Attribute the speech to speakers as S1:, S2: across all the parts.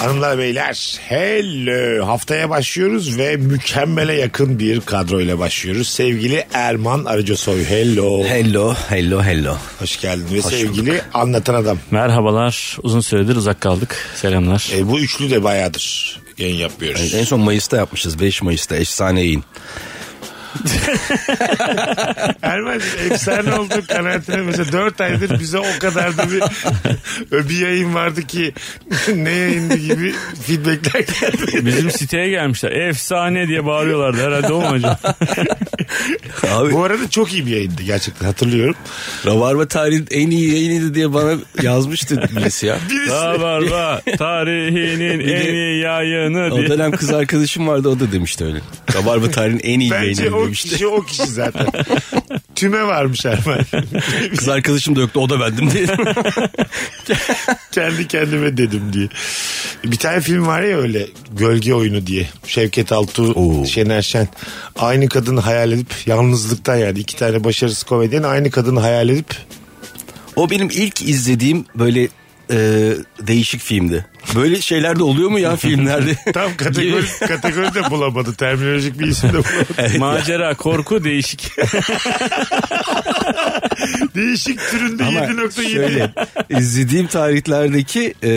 S1: Hanımlar beyler hello haftaya başlıyoruz ve mükemmele yakın bir kadroyla başlıyoruz. Sevgili Erman Arıcasoy hello
S2: Hello, hello, hello.
S1: hoş geldin ve sevgili anlatan adam.
S3: Merhabalar. Uzun süredir uzak kaldık. Selamlar.
S1: E, bu üçlü de bayağıdır yayın yapıyoruz.
S2: En son Mayıs'ta yapmışız. 5 Mayıs'ta efsane yayın.
S1: Erman efsane oldu kanaatine mesela 4 aydır bize o kadar da bir, e, bir yayın vardı ki ne yayındı gibi feedbackler geldi.
S3: Bizim siteye gelmişler. Efsane diye bağırıyorlardı. Herhalde o mu acaba?
S2: Abi
S1: Bu arada çok iyi bir yayındı gerçekten hatırlıyorum.
S2: Rabarba tarihin en iyi yayınıydı diye bana yazmıştı birisi ya.
S3: Rabarba tarihinin
S2: de-
S3: en iyi yayını
S2: O
S3: diye.
S2: dönem kız arkadaşım vardı o da demişti öyle. Rabarba tarihin en iyi
S1: Bence
S2: yayını
S1: o
S2: demişti.
S1: kişi o kişi zaten. Tüme varmış Erman.
S2: Kız arkadaşım da yoktu o da bendim diye.
S1: Kendi kendime dedim diye. Bir tane film var ya öyle gölge oyunu diye. Şevket Altuğ, Şener Şen. Aynı kadını hayal edip yalnızlıktan yani iki tane başarısız komedyen aynı kadını hayal edip
S2: o benim ilk izlediğim böyle e, değişik filmdi. Böyle şeyler de oluyor mu ya filmlerde?
S1: tam kategori, kategori de bulamadı. Terminolojik bir isim de bulamadı.
S3: Macera, korku değişik.
S1: Değişik türünde
S2: Ama
S1: 7.7.
S2: şöyle izlediğim tarihlerdeki e,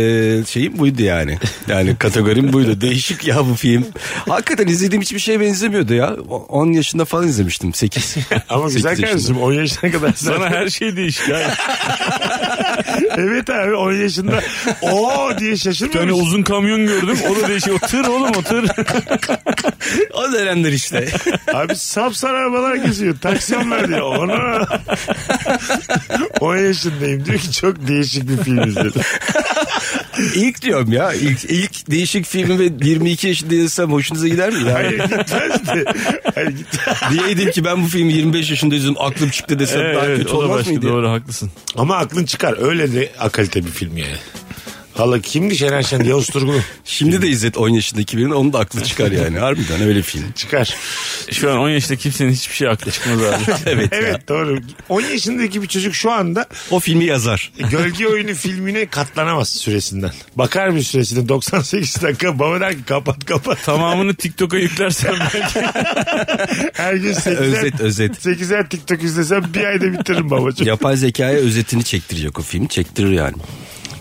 S2: şeyim buydu yani. Yani kategorim buydu. Değişik ya bu film. Hakikaten izlediğim hiçbir şeye benzemiyordu ya. O- 10 yaşında falan izlemiştim 8.
S1: Ama güzel
S2: Sekiz yaşında.
S1: kardeşim 10 yaşına kadar.
S3: Sana her şey değişik. ya.
S1: evet abi 10 yaşında o diye
S3: Bir tane
S1: şaşırmıyor musun?
S3: uzun kamyon gördüm. O da değişik. O tır oğlum o tır.
S2: o dönemler işte.
S1: Abi sapsarı arabalar geziyor. Taksiyonlar diyor. Ona 10 yaşındayım diyor ki çok değişik bir film izledim.
S2: ilk diyorum ya. ilk, ilk değişik filmi ve 22 yaşında izlesem hoşunuza gider mi? Yani
S1: Hayır gitmez de. Hayır gitmez.
S2: diyeydim ki ben bu filmi 25 yaşında izledim aklım çıktı desem
S3: Evet,
S2: daha
S3: evet,
S2: kötü
S3: o da
S2: olmaz
S3: başka.
S2: mıydı?
S3: Doğru haklısın.
S1: Ama aklın çıkar. Öyle de akalite bir film yani. Valla kimdi Şener Şen? Yavuz Turgul.
S2: Şimdi de izlet 10 yaşındaki birinin onun da aklı çıkar yani. Harbiden öyle film.
S1: Çıkar.
S3: Şu an 10 yaşında kimsenin hiçbir şey aklı çıkmaz abi.
S2: Evet, ya.
S1: Evet doğru. 10 yaşındaki bir çocuk şu anda
S2: O filmi yazar.
S1: Gölge Oyunu filmine katlanamaz süresinden. Bakar bir süresine 98 dakika baba der ki kapat kapat.
S3: Tamamını TikTok'a yüklersen belki.
S1: Her gün 8'er,
S2: Özet özet.
S1: 8'er TikTok izlesem bir ayda bitiririm babacığım.
S2: Yapay zekaya özetini çektirecek o film. Çektirir yani.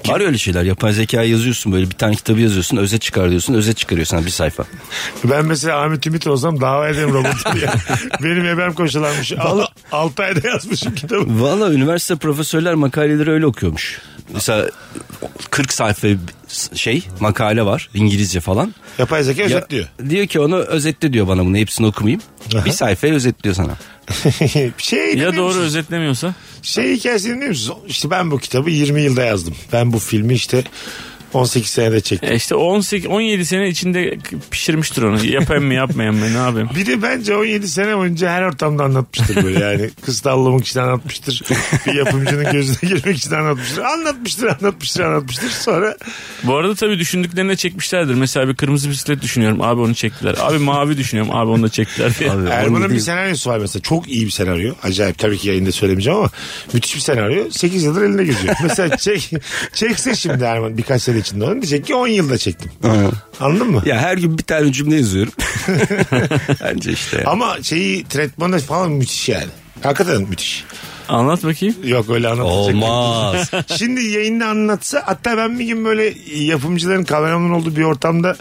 S2: Var öyle şeyler. Yapay zekaya yazıyorsun böyle bir tane kitabı yazıyorsun. Özet çıkar diyorsun. Özet çıkarıyorsun ha, bir sayfa.
S1: Ben mesela Ahmet Ümit olsam dava ederim robotu diye. Benim ebem koşulanmış. 6 ayda yazmışım kitabı.
S2: Valla üniversite profesörler makaleleri öyle okuyormuş. Mesela 40 sayfa şey makale var İngilizce falan.
S1: Yapay zeka
S2: Ya-
S1: özetliyor.
S2: Diyor ki onu özetle diyor bana bunu hepsini okumayayım.
S1: Aha.
S2: Bir sayfayı özetliyor sana.
S1: şey
S3: Ya doğru
S1: musunuz?
S3: özetlemiyorsa?
S1: Şey hikayesini dinliyor musunuz? İşte ben bu kitabı 20 yılda yazdım. Ben bu filmi işte 18 senede çektim.
S3: E işte 18 17 sene içinde pişirmiştir onu. Yapayım mı yapmayayım mı ne yapayım?
S1: Bir de bence 17 sene boyunca her ortamda anlatmıştır böyle yani. Kız tavlamak için anlatmıştır. Bir yapımcının gözüne girmek için anlatmıştır. Anlatmıştır, anlatmıştır, anlatmıştır. Sonra
S3: Bu arada tabii düşündüklerine çekmişlerdir. Mesela bir kırmızı bisiklet düşünüyorum. Abi onu çektiler. Abi mavi düşünüyorum. Abi onu da çektiler. diye.
S2: Abi,
S1: Erman'ın
S2: 17
S1: bir senaryosu var mesela. Çok iyi bir senaryo. Acayip tabii ki yayında söylemeyeceğim ama müthiş bir senaryo. 8 yıldır eline geziyor. mesela çek, çekse şimdi Erman birkaç sene içinde onu diyecek ki 10 yılda çektim. Anladın mı?
S2: Ya her gün bir tane cümle yazıyorum. Bence işte. ya.
S1: Ama şeyi tretmanı falan müthiş yani. Hakikaten müthiş.
S3: Anlat bakayım.
S1: Yok öyle anlatacak.
S2: Olmaz.
S1: Şimdi yayında anlatsa hatta ben bir gün böyle yapımcıların kameraman olduğu bir ortamda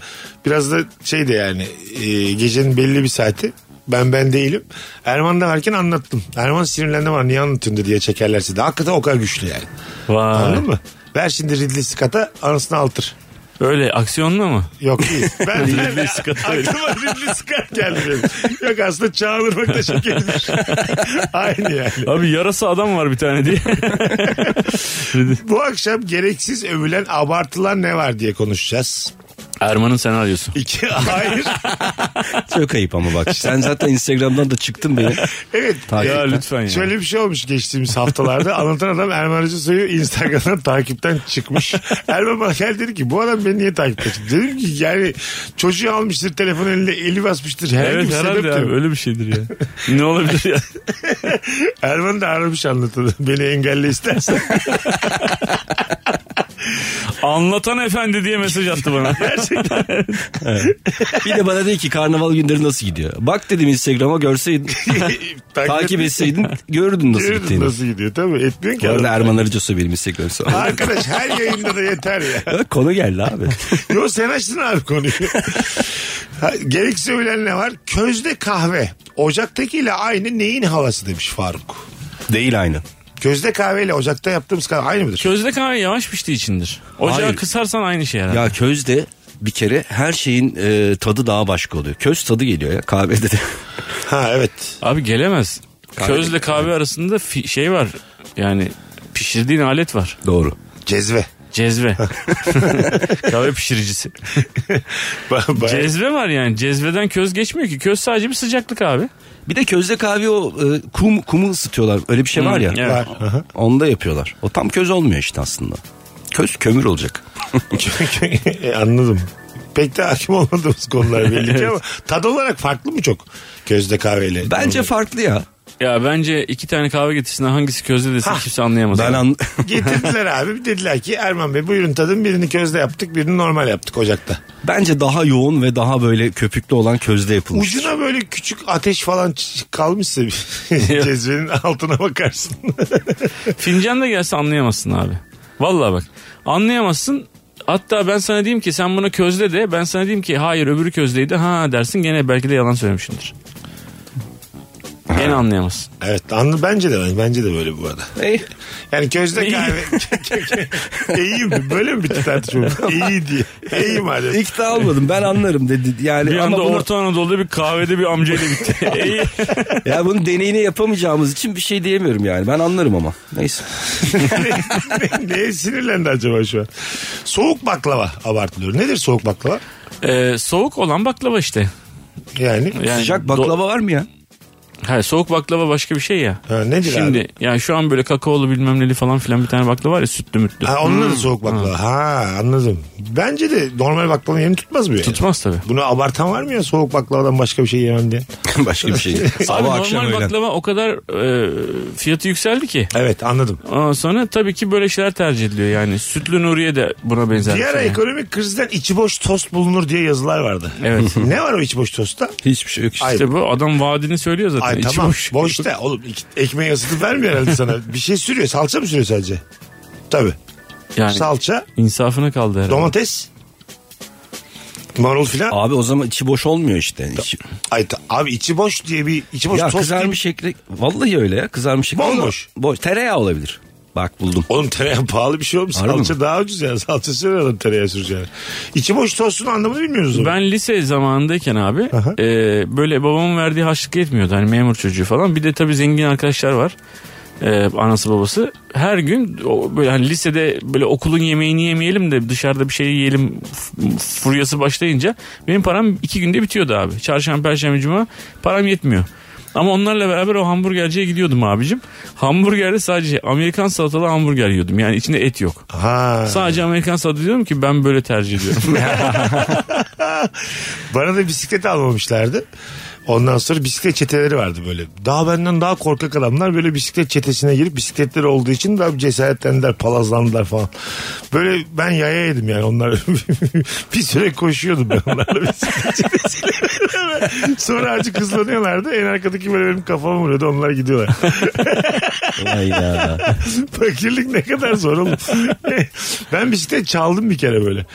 S1: biraz da şey de yani e, gecenin belli bir saati ben ben değilim. Erman da varken anlattım. Erman sinirlendi var niye anlatıyorsun diye çekerlerse de hakikaten o kadar güçlü yani.
S3: Vay.
S1: Anladın mı? Ver şimdi Ridley Scott'a anasını altır.
S3: Öyle aksiyonlu mu?
S1: Yok değil. Ben
S3: Ridley Scott öyle.
S1: aklıma Ridley Scott geldi benim. Yok aslında Çağlar da çekilir. Aynı yani.
S3: Abi yarası adam var bir tane diye.
S1: Bu akşam gereksiz övülen abartılan ne var diye konuşacağız.
S3: Erman'ın senaryosu.
S1: İki, hayır.
S2: Çok ayıp ama bak. Sen zaten Instagram'dan da çıktın beni.
S1: Evet.
S2: Takipten.
S3: Ya lütfen ya.
S1: Şöyle bir şey olmuş geçtiğimiz haftalarda. Anlatan adam Erman Arıcı Soy'u Instagram'dan takipten çıkmış. Erman bana geldi dedi ki bu adam beni niye takipte çıktı? Dedim ki yani çocuğu almıştır telefon elinde eli basmıştır. Herhangi
S3: Evet
S1: bir sebep de
S3: herhalde
S1: yok.
S3: abi öyle bir şeydir ya. ne olabilir ya?
S1: Erman da aramış anlatan. Beni engelle istersen.
S3: Anlatan efendi diye mesaj attı bana.
S2: Bir de bana dedi ki karnaval günleri nasıl gidiyor? Bak dedim Instagram'a görseydin. takip etseydin görürdün nasıl
S1: Görürdün
S2: gittiğini.
S1: Nasıl gidiyor tabii. Etmiyorsun ki.
S2: Bu arada
S1: adam.
S2: Erman Arıcısı benim Instagram hesabım.
S1: Arkadaş her yayında da yeter ya.
S2: Konu geldi abi.
S1: Yo sen açtın abi konuyu. Ha, Gerekse ölen ne var? Közde kahve. Ocaktakiyle aynı neyin havası demiş Faruk.
S2: Değil aynı.
S1: Közde kahveyle ocakta yaptığımız kahve aynı mıdır?
S3: Közde kahve yavaş piştiği içindir. Ocağı
S2: Hayır.
S3: kısarsan aynı şey herhalde.
S2: Ya közde bir kere her şeyin e, tadı daha başka oluyor. Köz tadı geliyor ya kahvede de.
S1: Ha evet.
S3: Abi gelemez. Közle kahve arasında fi- şey var. Yani pişirdiğin alet var.
S2: Doğru.
S1: Cezve.
S3: Cezve. kahve pişiricisi.
S1: Ba- baya-
S3: Cezve var yani. Cezveden köz geçmiyor ki. Köz sadece bir sıcaklık abi.
S2: Bir de közde kahve o e, kum kumu ısıtıyorlar. Öyle bir şey var ya.
S3: Hı, evet.
S1: var. Aha.
S2: Onu da yapıyorlar. O tam köz olmuyor işte aslında. Köz kömür olacak.
S1: E, Anladım. Pek de hakim olmadığımız konular belli ki ama tad olarak farklı mı çok közde kahveyle?
S2: Bence farklı ya.
S3: Ya bence iki tane kahve getirsin hangisi közde desin kimse anlayamaz.
S2: Ben an...
S1: Getirdiler abi dediler ki Erman Bey buyurun tadın birini közde yaptık birini normal yaptık ocakta.
S2: Bence daha yoğun ve daha böyle köpüklü olan közde yapılmış.
S1: Ucuna böyle küçük ateş falan ç- kalmışsa bir cezvenin altına bakarsın.
S3: Fincan da gelse anlayamazsın abi. Vallahi bak anlayamazsın. Hatta ben sana diyeyim ki sen bunu közle de ben sana diyeyim ki hayır öbürü közleydi ha dersin gene belki de yalan söylemişimdir. Gene anlayamazsın.
S1: evet anlı bence de bence de böyle bu arada.
S2: Ey,
S1: Yani közde
S3: İyi.
S1: kahve. İyi mi? Böyle mi bitti tartışma? İyi diye. İyi madem.
S2: İkna olmadım ben anlarım dedi. Yani
S3: Bir
S2: ama
S3: anda
S2: bunu,
S3: Orta Anadolu'da bir kahvede bir amcayla bitti. İyi.
S2: ya bunu deneyine yapamayacağımız için bir şey diyemiyorum yani. Ben anlarım ama. Neyse.
S1: Ne- Neye sinirlendi acaba şu an? Soğuk baklava abartılıyor. Nedir soğuk baklava?
S3: Ee, soğuk olan baklava işte.
S1: Yani
S3: Yani
S2: Sıcak
S3: do-
S2: baklava var mı ya?
S3: Ha, soğuk baklava başka bir şey ya.
S1: Ha, nedir
S3: Şimdi
S1: abi?
S3: yani şu an böyle kakaolu bilmem neli falan filan bir tane baklava var ya sütlü mütlü.
S1: Ha, onun adı soğuk baklava. Ha anladım. Bence de normal baklavanın yerini tutmaz mı yani?
S3: Tutmaz tabii.
S1: Bunu abartan var mı ya soğuk baklavadan başka bir şey yemem diye?
S2: Başka bir şey. değil.
S3: Abi
S2: Sabah akşam
S3: normal
S2: öğlen.
S3: baklava o kadar e, fiyatı yükseldi ki.
S1: Evet anladım.
S3: Ondan sonra tabii ki böyle şeyler tercih ediliyor yani. Sütlü Nuriye de buna benzer. bir
S1: Bir ara
S3: şey.
S1: ekonomik krizden içi boş tost bulunur diye yazılar vardı.
S3: Evet.
S1: ne var o içi boş tostta?
S2: Hiçbir şey yok işte.
S1: Ay,
S3: İşte bu adam vaadini söylüyor zaten.
S1: ay
S3: İçi
S1: tamam boş.
S3: boş.
S1: da oğlum iki- ekmeği ısıtıp vermiyor herhalde sana. Bir şey sürüyor salça mı sürüyor sadece? Tabii.
S3: Yani
S1: Salça,
S3: insafına kaldı herhalde.
S1: domates, marul filan.
S2: Abi o zaman içi boş olmuyor işte. İçi-
S1: Ay ta- abi içi boş diye bir içi boş
S2: ya
S1: tost
S2: kızarmış
S1: diye-
S2: şekli. Vallahi öyle ya kızarmış şekli.
S1: Bomboş.
S2: Ama Boş. Tereyağı olabilir. Bak buldum.
S1: Oğlum tereyağı pahalı bir şey olmuş.
S2: Harbi
S1: salça
S2: mi?
S1: daha ucuz ya. Salça sürüyor adam tereyağı süreceğine. İçi boş tostun anlamını bilmiyoruz. oğlum.
S3: Ben lise zamanındayken abi
S1: Aha.
S3: e, böyle babamın verdiği harçlık yetmiyordu. Hani memur çocuğu falan. Bir de tabii zengin arkadaşlar var. E, anası babası. Her gün o, böyle hani lisede böyle okulun yemeğini yemeyelim de dışarıda bir şey yiyelim f- furyası başlayınca benim param iki günde bitiyordu abi. Çarşamba, perşembe, cuma param yetmiyor. Ama onlarla beraber o hamburgerciye gidiyordum abicim. Hamburgerde sadece Amerikan salatalı hamburger yiyordum. Yani içinde et yok.
S1: Ha.
S3: Sadece Amerikan salatalı diyorum ki ben böyle tercih ediyorum.
S1: Bana da bisiklet almamışlardı. Ondan sonra bisiklet çeteleri vardı böyle. Daha benden daha korkak adamlar böyle bisiklet çetesine girip bisikletleri olduğu için daha cesaretlendiler, palazlandılar falan. Böyle ben yayaydım yani onlar. bir süre koşuyordum ben onlarla bisiklet çetesiyle. sonra azıcık hızlanıyorlardı. En arkadaki böyle benim kafama vuruyordu. Onlar gidiyorlar.
S2: Hayda.
S1: Fakirlik ne kadar zor oğlum. ben bisiklet çaldım bir kere böyle.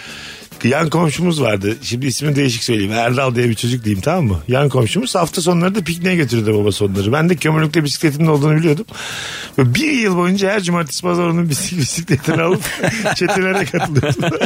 S1: Yan komşumuz vardı. Şimdi ismini değişik söyleyeyim. Erdal diye bir çocuk diyeyim tamam mı? Yan komşumuz hafta sonları da pikniğe götürürdü babası onları. Ben de kömürlükte bisikletinin olduğunu biliyordum. Ve bir yıl boyunca her cumartesi pazar onun bisik- bisikletini alıp çetelere katılıyordum.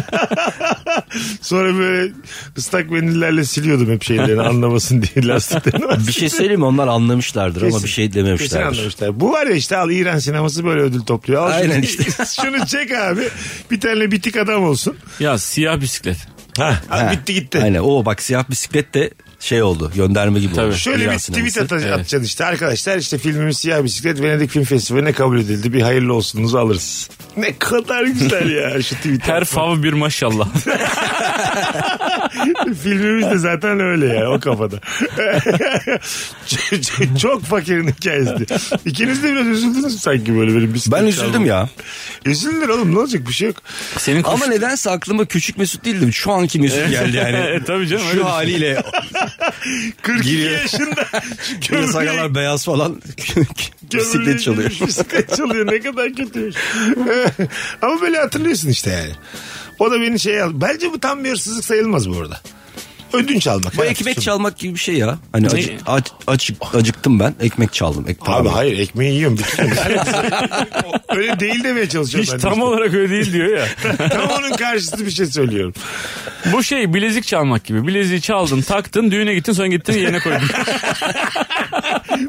S1: Sonra böyle ıslak mendillerle siliyordum hep şeylerini anlamasın diye lastiklerini.
S2: bir şey söyleyeyim mi? Onlar anlamışlardır ama
S1: Kesin.
S2: bir şey
S1: Kesin
S2: dememişlerdir.
S1: anlamışlar. Bu var ya işte al İran sineması böyle ödül topluyor. Al şunu,
S2: Aynen işte.
S1: şunu çek abi. Bir tane bitik adam olsun.
S3: ya siyah bisiklet.
S1: Ha,
S2: Ha.
S1: bitti gitti.
S2: Aynen o bak siyah bisiklet de şey oldu gönderme gibi
S3: Tabii.
S2: oldu.
S1: Şöyle
S2: İran
S1: bir tweet
S2: sineması.
S1: ata- atacaksın işte arkadaşlar işte filmimiz Siyah Bisiklet Venedik Film Festivali'ne kabul edildi. Bir hayırlı olsunuzu alırız. Ne kadar güzel ya şu tweet.
S3: Her fav bir maşallah.
S1: Filmimiz de zaten öyle ya o kafada. Ç- ç- Çok fakirin hikayesi. İkiniz de biraz üzüldünüz sanki böyle benim bisiklet
S2: Ben üzüldüm
S1: çalmam.
S2: ya.
S1: Üzüldün oğlum ne olacak bir şey yok.
S3: Senin kuş...
S2: Ama nedense aklıma küçük Mesut değildim. Şu anki Mesut geldi yani.
S3: E, tabii canım,
S2: Şu
S3: öyle düşün.
S2: haliyle
S1: 42
S2: Giriyor.
S1: yaşında şu
S2: böyle
S1: gömleği-
S2: sakalar beyaz falan
S1: gömleği
S2: bisiklet çalıyor.
S1: giymiş, bisiklet çalıyor ne kadar kötüymüş. Ama böyle hatırlıyorsun işte yani. O da beni şey al. Bence bu tam bir hırsızlık sayılmaz bu arada. Ödünç almak.
S2: Bu
S1: Her
S2: ekmek
S1: kutusu.
S2: çalmak gibi bir şey ya. Hani acı, ac- acık- acıktım ben ekmek çaldım. Ek
S1: Abi hayır ekmeği yiyorum. bitiriyorum. Öyle değil demeye çalışıyorum.
S3: Hiç
S1: ben de
S3: tam
S1: işte.
S3: olarak öyle değil diyor ya.
S1: tam onun karşıtı bir şey söylüyorum.
S3: Bu şey bilezik çalmak gibi. Bileziği çaldın, taktın, düğüne gittin, sonra gittin yerine koydun.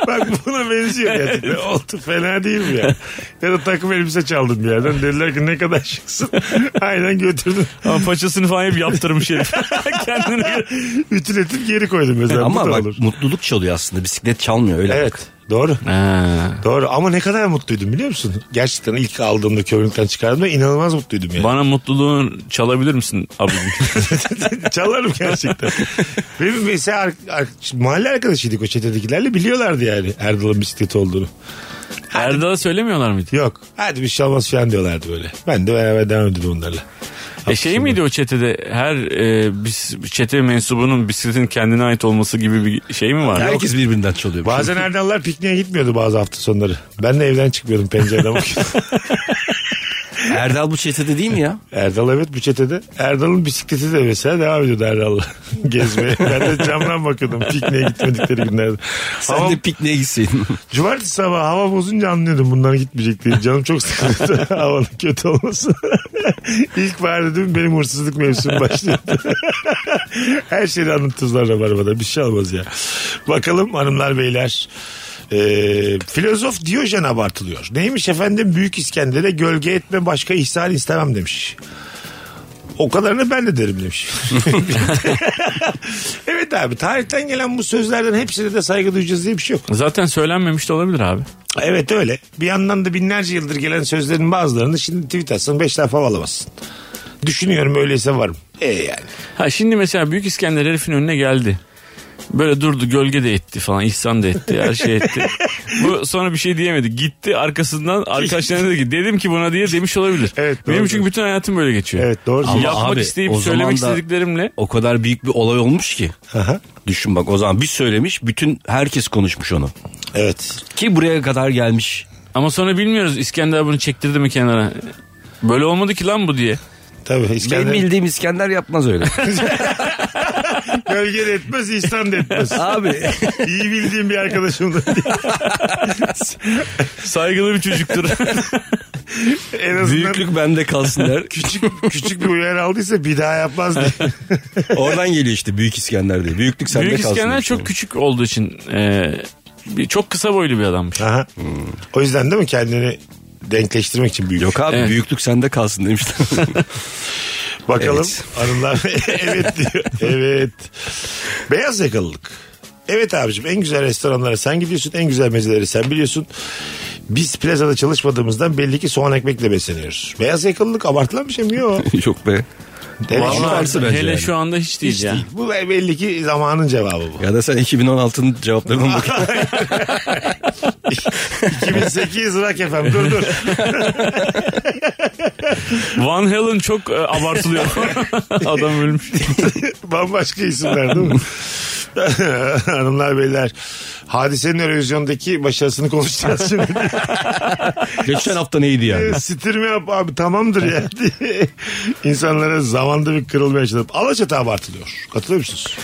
S1: Bak buna benziyor gerçekten. Oldu fena değil mi ya? Ya da takım elbise çaldım bir yerden. Dediler ki ne kadar şıksın. Aynen götürdüm.
S3: Ama paçasını falan hep yaptırmış herif. Kendine göre.
S1: Ütületip geri koydum mesela.
S2: Ama
S1: Ama
S2: bak
S1: olur.
S2: mutluluk çalıyor aslında bisiklet çalmıyor öyle.
S1: Evet doğru. Doğru ama ne kadar mutluydum biliyor musun? Gerçekten ilk aldığımda kömürlükten çıkardığımda inanılmaz mutluydum yani.
S3: Bana mutluluğunu çalabilir misin abim?
S1: Çalarım gerçekten. Benim mesela ar- ar- mahalle arkadaşıydık o çetedekilerle biliyorlardı yani Erdal'ın bisikleti olduğunu.
S3: Erdal'a söylemiyorlar mıydı?
S1: Yok hadi bir şey olmaz falan diyorlardı böyle. Ben de beraber devam ediyordum onlarla.
S3: E şey miydi o çetede her e, bis, çete mensubunun bisikletin kendine ait olması gibi bir şey mi var?
S2: Herkes birbirinden çalıyor.
S1: Bazen Erdallar pikniğe gitmiyordu bazı hafta sonları. Ben de evden çıkmıyordum pencereden bakıyordum.
S2: Erdal bu çetede değil mi ya?
S1: Erdal evet bu çetede. Erdal'ın bisikleti de mesela devam ediyordu Erdal'la gezmeye. Ben de camdan bakıyordum pikniğe gitmedikleri günlerde.
S2: Sen
S1: Hava-
S2: de pikniğe gitseydin.
S1: Cumartesi sabahı hava bozunca anlıyordum bunlar gitmeyecek diye. Canım çok sıkıldı havanın kötü olması. İlk var dedim benim hırsızlık mevsimi başladı. Her şeyi anlatırlar Rabarba'da bir şey olmaz ya. Bakalım hanımlar beyler. Ee, filozof Diyojen abartılıyor. Neymiş efendim Büyük İskender'e gölge etme başka ihsan istemem demiş. O kadarını ben de derim demiş. evet abi tarihten gelen bu sözlerden hepsine de saygı duyacağız diye bir şey yok.
S3: Zaten söylenmemiş de olabilir abi.
S1: Evet öyle. Bir yandan da binlerce yıldır gelen sözlerin bazılarını şimdi tweet atsın 5 laf hava alamazsın. Düşünüyorum öyleyse varım. E yani.
S3: Ha şimdi mesela Büyük İskender herifin önüne geldi. Böyle durdu gölge de etti falan ihsan da etti her şey etti. Bu sonra bir şey diyemedi. Gitti arkasından arkadaşlarına dedi ki dedim ki buna diye demiş olabilir.
S1: Evet, doğru,
S3: Benim çünkü
S1: doğru.
S3: bütün hayatım böyle geçiyor.
S1: Evet doğru.
S2: Ama
S3: Yapmak
S2: abi,
S3: isteyip
S2: o zaman
S3: söylemek
S2: da-
S3: istediklerimle
S2: O kadar büyük bir olay olmuş ki.
S1: Aha.
S2: Düşün bak o zaman bir söylemiş bütün herkes konuşmuş onu.
S1: Evet.
S2: Ki buraya kadar gelmiş.
S3: ama sonra bilmiyoruz İskender bunu çektirdi mi kenara. Böyle olmadı ki lan bu diye.
S1: Tabii
S2: Benim
S1: İskender.
S2: bildiğim İskender yapmaz öyle.
S1: Gölge de etmez, İslam da etmez.
S2: abi
S1: İyi bildiğim bir arkadaşım da.
S3: Saygılı bir çocuktur.
S1: en azından
S2: büyüklük bende kalsın der. Küçük.
S1: küçük bir uyarı aldıysa bir daha yapmaz diye.
S2: Oradan geliyor işte Büyük İskender diye. Büyüklük sende
S3: Büyük
S2: kalsın.
S3: İskender
S1: şey
S2: demiş
S3: çok
S2: yani.
S3: küçük olduğu için e, bir- çok kısa boylu bir adammış.
S1: Aha. O yüzden değil mi kendini denkleştirmek için büyük.
S2: Yok abi
S3: Evet.
S2: büyüklük sende kalsın demişler.
S1: Bakalım
S2: Evet.
S1: hanımlar evet diyor. Evet. Beyaz yakalılık. Evet abicim en güzel restoranlara sen gidiyorsun en güzel mezeleri sen biliyorsun. Biz plazada çalışmadığımızdan belli ki soğan ekmekle besleniyoruz. Beyaz yakalılık abartılan bir şey mi? Yok.
S2: Yok be.
S1: Evet,
S3: Vallahi
S1: şu an
S2: varsa bence
S3: hele
S2: yani.
S3: şu anda hiç değil
S1: hiç
S3: ya.
S1: değil. Bu belli ki zamanın cevabı bu.
S2: Ya da sen 2016'nın cevaplarına mı bakıyorsun?
S1: 2008 Rock FM dur dur.
S3: Van Halen çok e, abartılıyor. Adam ölmüş.
S1: Bambaşka isimler değil mi? Hanımlar beyler hadisenin Eurovision'daki başarısını konuşacağız şimdi.
S2: Geçen hafta neydi yani?
S1: E, Sitir mi yap abi tamamdır ya diye insanlara zamanda bir kırılma yaşadım. Alaçatı abartılıyor. Katılıyor musunuz?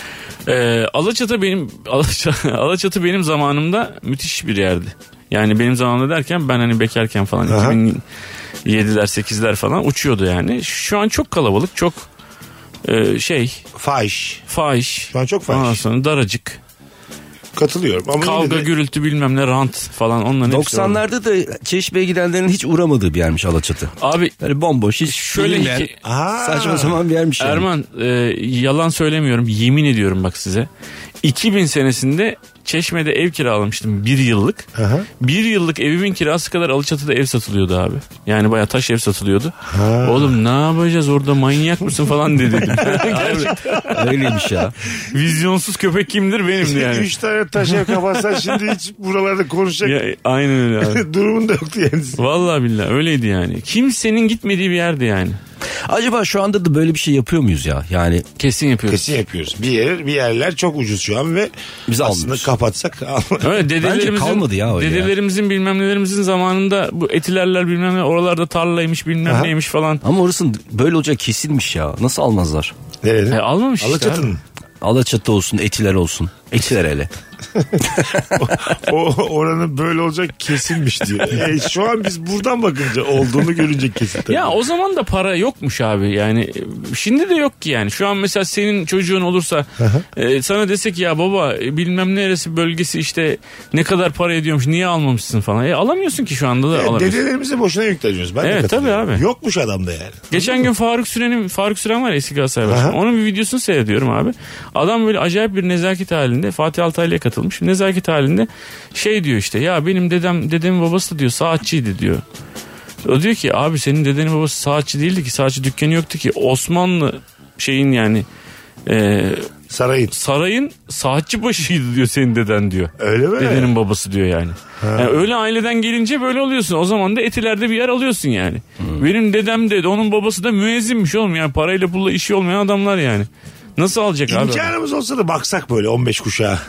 S3: E, Alaçatı benim Alaçatı, Alaçatı benim zamanımda müthiş bir yerdi. Yani benim zamanımda derken ben hani bekarken falan
S1: Aha.
S3: 2007'ler 8'ler falan uçuyordu yani. Şu an çok kalabalık çok e, şey
S1: Fahiş.
S3: fahiş.
S1: Şu an çok fahiş.
S3: Ondan sonra daracık.
S1: Katılıyorum. Ama yine
S3: Kavga,
S1: de-
S3: gürültü bilmem ne rant falan onların hepsi orada.
S2: 90'larda da çeşmeye gidenlerin hiç uğramadığı bir yermiş Alaçatı.
S3: Abi
S2: Böyle bomboş hiç
S3: şöyle
S2: bilinmeyen,
S3: hikaye-
S1: Aa,
S2: saçma sapan bir yermiş. yani.
S3: Erman e, yalan söylemiyorum yemin ediyorum bak size. 2000 senesinde Çeşme'de ev kiralamıştım bir yıllık.
S1: Aha.
S3: Bir yıllık evimin kirası kadar Alaçatı'da ev satılıyordu abi. Yani bayağı taş ev satılıyordu. Oğlum ne yapacağız orada manyak mısın falan dedi.
S2: Öyleymiş ya.
S3: Vizyonsuz köpek kimdir benimdi yani.
S1: Üç tane taşa kapatsan şimdi hiç buralarda konuşacak
S3: ya, aynen öyle abi.
S1: durumun da yoktu yani.
S3: Vallahi billahi öyleydi yani. Kimsenin gitmediği bir yerdi yani.
S2: Acaba şu anda da böyle bir şey yapıyor muyuz ya? Yani
S3: Kesin yapıyoruz.
S1: Kesin yapıyoruz. Bir yer, bir yerler çok ucuz şu an ve
S2: Biz
S1: aslında
S2: almıyoruz.
S1: kapatsak al-
S3: Öyle dedelerimizin,
S2: kalmadı ya öyle ya.
S3: dedelerimizin bilmem nelerimizin zamanında bu etilerler bilmem ne oralarda tarlaymış bilmem
S1: Aha.
S3: neymiş falan.
S2: ama orasının böyle olacak kesilmiş ya. Nasıl almazlar?
S1: Nerede?
S3: E, almamış işte abi.
S1: Alaçatı'nın.
S2: Alaçatı olsun, etiler olsun. Etiler hele.
S1: o oranın böyle olacak kesilmiş diyor. E, şu an biz buradan bakınca olduğunu görünce kesin tabii.
S3: Ya o zaman da para yokmuş abi yani e, şimdi de yok ki yani şu an mesela senin çocuğun olursa e, sana desek ya baba e, bilmem neresi bölgesi işte ne kadar para ediyormuş niye almamışsın falan. E alamıyorsun ki şu anda da
S1: E,
S3: alamıyorsun.
S1: Dedelerimize boşuna yükleniyoruz. Ben de
S3: Evet,
S1: katılıyorum.
S3: tabii abi.
S1: Yokmuş adamda yani.
S3: Geçen gün Faruk Süren'in Faruk Süren var ya eski Galatasaray başkanı.
S1: Aha.
S3: Onun bir videosunu seyrediyorum abi. Adam böyle acayip bir nezaket halinde Fatih Altaylı'ya katılmış. Nezaket halinde şey diyor işte ya benim dedem dedemin babası da diyor saatçiydi diyor. O diyor ki abi senin dedenin babası saatçi değildi ki saatçi dükkanı yoktu ki Osmanlı şeyin yani e,
S1: Sarayın.
S3: sarayın saatçi başıydı diyor senin deden diyor.
S1: Öyle mi?
S3: Dedenin babası diyor yani. Yani öyle aileden gelince böyle oluyorsun. O zaman da etilerde bir yer alıyorsun yani.
S1: Hmm.
S3: Benim dedem de onun babası da müezzinmiş oğlum yani parayla pulla işi olmayan adamlar yani. Nasıl alacak abi?
S1: İmkanımız olsa da baksak böyle 15 kuşağa.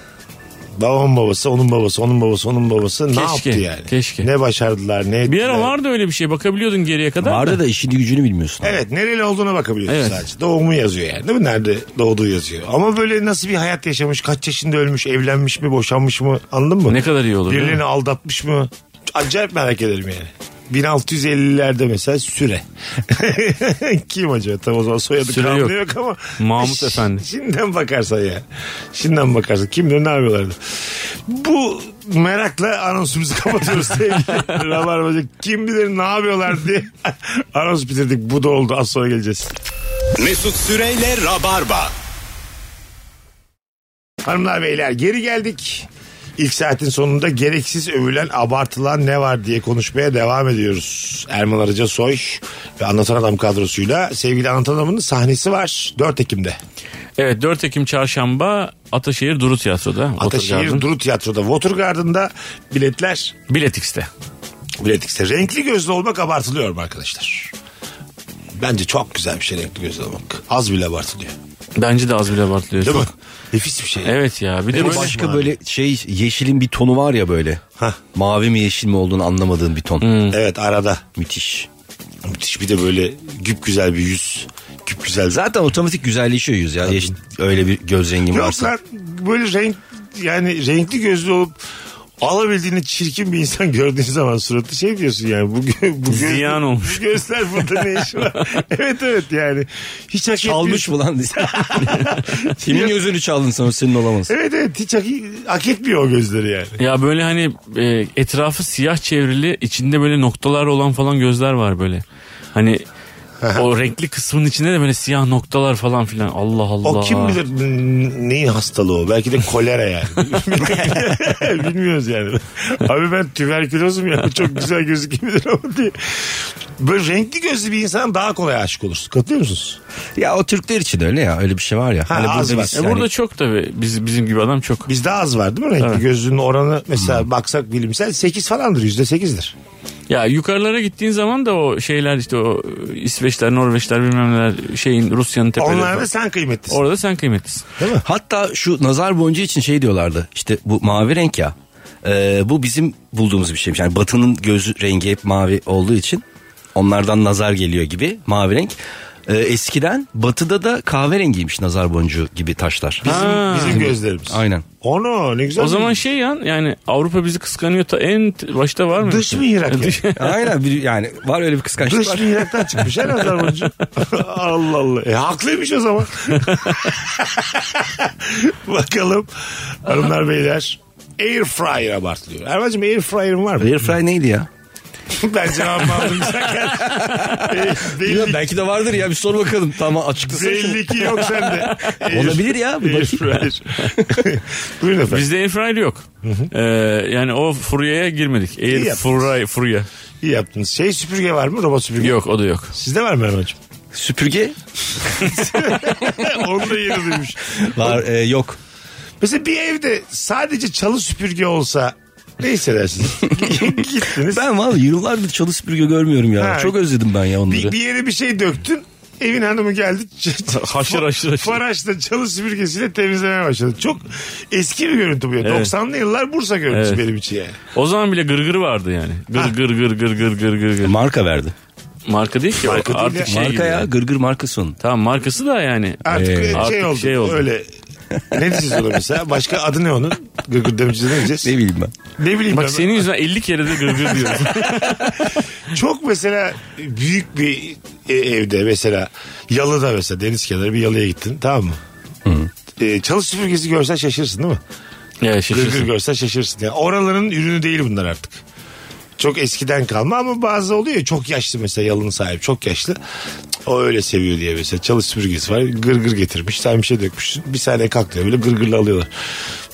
S1: Babamın babası, onun babası, onun babası, onun babası ne
S3: Keşke,
S1: yaptı yani?
S3: keşke.
S1: Ne başardılar, ne ettiler?
S3: Bir ara vardı öyle bir şey bakabiliyordun geriye kadar.
S2: Vardı
S3: da.
S2: da işini gücünü bilmiyorsun.
S1: Evet nereli olduğuna bakabiliyorsun
S3: Evet.
S1: sadece. Doğumu yazıyor yani değil mi? Nerede doğduğu yazıyor. Ama böyle nasıl bir hayat yaşamış, kaç yaşında ölmüş, evlenmiş mi, boşanmış mı anladın mı?
S3: Ne kadar iyi olur. değil mi?
S1: Birilerini aldatmış mı? Acayip merak ederim yani. 1650'lerde mesela süre. Kim acaba? Tam o zaman soyadı
S3: Süre
S1: kanlı yok.
S3: yok.
S1: ama.
S3: Mahmut Efendi.
S1: Şimdiden bakarsan ya. Şimdiden bakarsan. Kim bilir ne yapıyorlardı. Bu merakla anonsumuzu kapatıyoruz sevgili Rabarbacı. Kim bilir ne yapıyorlar diye anons bitirdik. Bu da oldu. Az sonra geleceğiz.
S4: Mesut Süreyle Rabarba.
S1: Hanımlar beyler geri geldik. İlk saatin sonunda gereksiz övülen, abartılan ne var diye konuşmaya devam ediyoruz. Erman Arıca Soy ve Anlatan Adam kadrosuyla sevgili Anlatan Adam'ın sahnesi var 4 Ekim'de.
S3: Evet 4 Ekim çarşamba Ataşehir Duru Tiyatro'da.
S1: Ataşehir
S3: Ataşehir
S1: Duru Tiyatro'da Watergarden'da biletler
S3: Biletix'te.
S1: biletikse. Renkli gözlü olmak abartılıyor mu arkadaşlar? Bence çok güzel bir şey renkli gözlü olmak. Az bile abartılıyor.
S3: Bence de az bile abartılıyor.
S1: Değil mi?
S3: Çok-
S1: Nefis bir şey.
S3: Evet ya bir de
S2: Bir
S3: böyle
S2: başka böyle şey yeşilin bir tonu var ya böyle.
S1: Hah.
S2: Mavi mi yeşil mi olduğunu anlamadığın bir ton.
S1: Evet arada.
S2: Müthiş.
S1: Müthiş bir de böyle güp güzel bir yüz. Güp güzel
S2: Zaten otomatik güzelleşiyor yüz ya. Yeşil, öyle bir göz rengin
S1: Yok
S2: varsa.
S1: lan böyle renk yani renkli gözlü olup alabildiğini çirkin bir insan gördüğün zaman suratı şey diyorsun yani bu, gö- bu göz-
S3: Ziyan olmuş.
S1: bu gözler burada ne işi var evet evet yani hiç hak
S2: Çalmış
S1: etmiyor.
S2: mı lan? Kimin gözünü çaldın sen o senin olamaz.
S1: Evet evet hiç hak, hak etmiyor o gözleri yani.
S3: Ya böyle hani e, etrafı siyah çevrili içinde böyle noktalar olan falan gözler var böyle. Hani o renkli kısmın içinde de böyle siyah noktalar falan filan. Allah Allah.
S1: O kim bilir n- neyin hastalığı o? Belki de kolera yani. Bilmiyoruz yani. Abi ben tüberkülozum ya. Çok güzel gözükebilir ama diye. Böyle renkli gözlü bir insan daha kolay aşık olursun. Katılıyor musunuz?
S2: Ya o Türkler için öyle ya. Öyle bir şey var ya.
S1: Ha,
S2: Hani
S1: az
S2: burada
S1: var.
S2: biz
S3: E
S2: yani-
S3: burada çok tabii biz, bizim gibi adam çok.
S1: Bizde az var değil mi renkli gözlünün oranı? Mesela baksak bilimsel 8 falandır yüzde 8'dir.
S3: Ya yukarılara gittiğin zaman da o şeyler işte o e, İsveçler, Norveçler bilmem neler şeyin Rusya'nın tepeleri.
S1: Onlar
S3: falan.
S1: da sen kıymetlisin.
S3: Orada sen kıymetlisin.
S2: Hatta şu nazar boncuğu için şey diyorlardı. İşte bu mavi renk ya. Ee, bu bizim bulduğumuz bir şeymiş. Yani batının göz rengi hep mavi olduğu için onlardan nazar geliyor gibi mavi renk. Ee, eskiden batıda da kahverengiymiş nazar boncuğu gibi taşlar.
S1: Bizim,
S3: Ha.
S1: bizim gözlerimiz.
S2: Aynen.
S1: Onu ne güzel.
S3: O zaman
S1: bir-
S3: şey yan yani Avrupa bizi kıskanıyor ta en t- başta var mı?
S1: Dış mihrak yani.
S3: Dış-
S2: Aynen bir- yani var öyle bir kıskançlık
S1: Dış
S2: var.
S1: mihraktan çıkmış her nazar boncuğu. Allah Allah. E, haklıymış o zaman. Bakalım hanımlar beyler. Air fryer abartılıyor. Erman'cığım air fryer'ın var mı?
S2: Airfry neydi ya?
S1: ben cevabımı aldım zaten. E, belli,
S2: belki de vardır ya bir sor bakalım. Tamam açıklasın.
S1: belli ki yok sende. Air-
S2: Olabilir ya, bir
S1: air
S2: bakayım.
S1: fryer. Buyurun efendim.
S3: Bizde air fryer yok. Ee, yani o furyaya girmedik.
S1: İyi
S3: Air
S1: yaptınız.
S3: fry, furya.
S1: İyi yaptınız. Şey süpürge var mı? Robot süpürge.
S3: Yok o da yok.
S1: Sizde var mı Erman'cığım?
S2: Süpürge
S1: Onu da yeni duymuş.
S2: var e, yok.
S1: Mesela bir evde sadece çalı süpürge olsa ne hissedersiniz? Gittiniz.
S2: Ben vallahi yıllardır çalı süpürge görmüyorum ya.
S1: Ha.
S2: Çok özledim ben ya onları.
S1: Bir, bir yere bir şey döktün. Evin hanımı geldi.
S3: Haşır haşır haşır.
S1: Faraşla çalı süpürgesiyle temizlemeye başladı. Çok eski bir görüntü bu ya. 90'lı yıllar Bursa görüntüsü
S3: Evet.
S1: benim için yani.
S3: O zaman bile gırgır vardı yani.
S1: Ah.
S3: Gır gır gır gır gır gır gır gır.
S2: Marka verdi.
S3: Marka değil ki o.
S1: Marka değil ya.
S3: artık şey gibi
S2: marka ya
S3: yani.
S2: gırgır markası onun.
S3: Tamam markası da yani.
S1: Artık
S3: Ee,
S1: şey,
S3: artık
S1: oldu,
S3: şey oldu.
S1: Öyle. Ne diyeceğiz ona mesela? Başka adı ne onun? Gırgır demircisi ne diyeceğiz?
S2: Ne
S1: Ne,
S2: bileyim ben.
S1: bileyim
S3: Bak
S1: ben.
S3: senin yüzünden 50 kere de gırgır diyoruz.
S1: Çok mesela büyük bir e- evde mesela yalıda mesela deniz kenarı bir yalıya gittin tamam mı? E, çalı süpürgesi görsen şaşırsın değil mi?
S3: ya
S1: Gırgır
S3: şaşırsın.
S1: görsen şaşırsın. Yani oraların ürünü değil bunlar artık. Çok eskiden kalma ama bazı oluyor ya, çok yaşlı mesela yalının sahibi çok yaşlı. O öyle seviyor diye mesela çalı süpürgesi var gırgır getirmiş sen bir şey dökmüş bir saniye kalk diyor böyle gırgırla alıyorlar.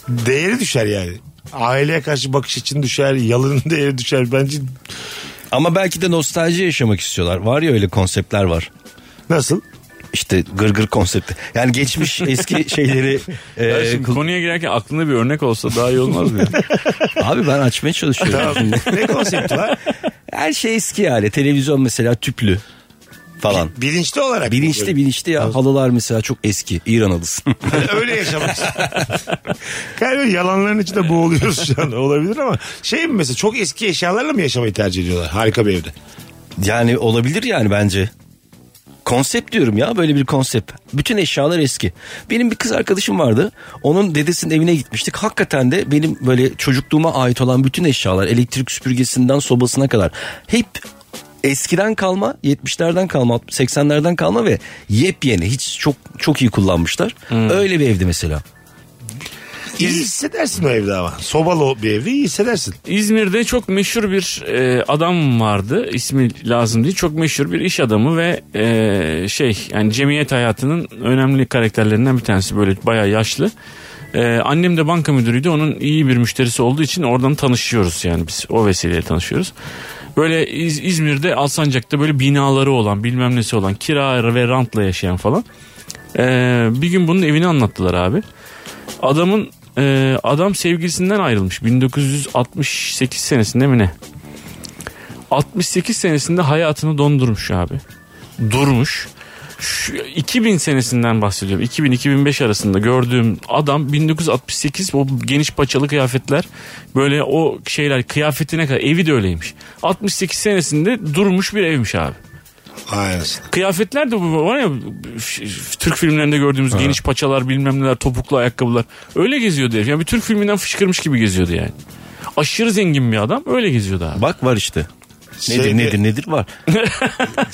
S1: Değeri düşer yani. Aileye karşı bakış için düşer yalının değeri düşer bence
S2: Ama belki de nostalji yaşamak istiyorlar. Var ya öyle konseptler var.
S1: nasıl?
S2: İşte gırgır konsepti. Yani geçmiş eski şeyleri. e,
S3: Ya şimdi
S2: kul-
S3: konuya girerken aklında bir örnek olsa daha iyi olmaz mı? ya?
S2: Abi ben açmaya çalışıyorum.
S1: Tamam. ne konsepti var?
S2: Her şey eski yani. Televizyon mesela tüplü falan.
S1: Bilinçli olarak.
S2: Bilinçli bilinçli ya. Halılar mesela çok eski. İran halısı.
S1: Öyle yaşamak. Galiba yalanların içinde boğuluyoruz şu an. Olabilir ama şey mi mesela çok eski eşyalarla mı yaşamayı tercih ediyorlar? Harika bir evde.
S2: yani olabilir yani bence. Konsept diyorum ya böyle bir konsept. Bütün eşyalar eski. Benim bir kız arkadaşım vardı. Onun dedesinin evine gitmiştik. Hakikaten de benim böyle çocukluğuma ait olan bütün eşyalar elektrik süpürgesinden sobasına kadar hep eskiden kalma 70'lerden kalma 80'lerden kalma ve yepyeni hiç çok çok iyi kullanmışlar. Öyle bir evdi mesela.
S1: İyi hissedersin o evde ama. Sobalı o bir evde iyi hissedersin.
S3: İzmir'de çok meşhur bir e, adam vardı. İsmi lazım değil. Çok meşhur bir iş adamı ve e, şey yani cemiyet hayatının önemli karakterlerinden bir tanesi. Böyle bayağı yaşlı. E, annem de banka müdürüydü. Onun iyi bir müşterisi olduğu için oradan tanışıyoruz yani biz. O vesileyle tanışıyoruz. Böyle İz- İzmir'de Alsancak'ta böyle binaları olan bilmem nesi olan kira ve rantla yaşayan falan. Ee, bir gün bunun evini anlattılar abi. Adamın e, adam sevgilisinden ayrılmış 1968 senesinde mi ne? 68 senesinde hayatını dondurmuş abi. Durmuş. Şu 2000 senesinden bahsediyorum. 2000-2005 arasında gördüğüm adam 1968 o geniş paçalı kıyafetler böyle o şeyler kıyafetine kadar evi de öyleymiş. 68 senesinde durmuş bir evmiş abi.
S1: Aynen.
S3: Kıyafetler de bu var ya f- f- Türk filmlerinde gördüğümüz geniş paçalar bilmem neler topuklu ayakkabılar. Öyle geziyordu herif. Yani bir Türk filminden fışkırmış gibi geziyordu yani. Aşırı zengin bir adam öyle geziyordu abi.
S2: Bak var işte. Nedir
S1: Şeyde-
S2: nedir nedir var.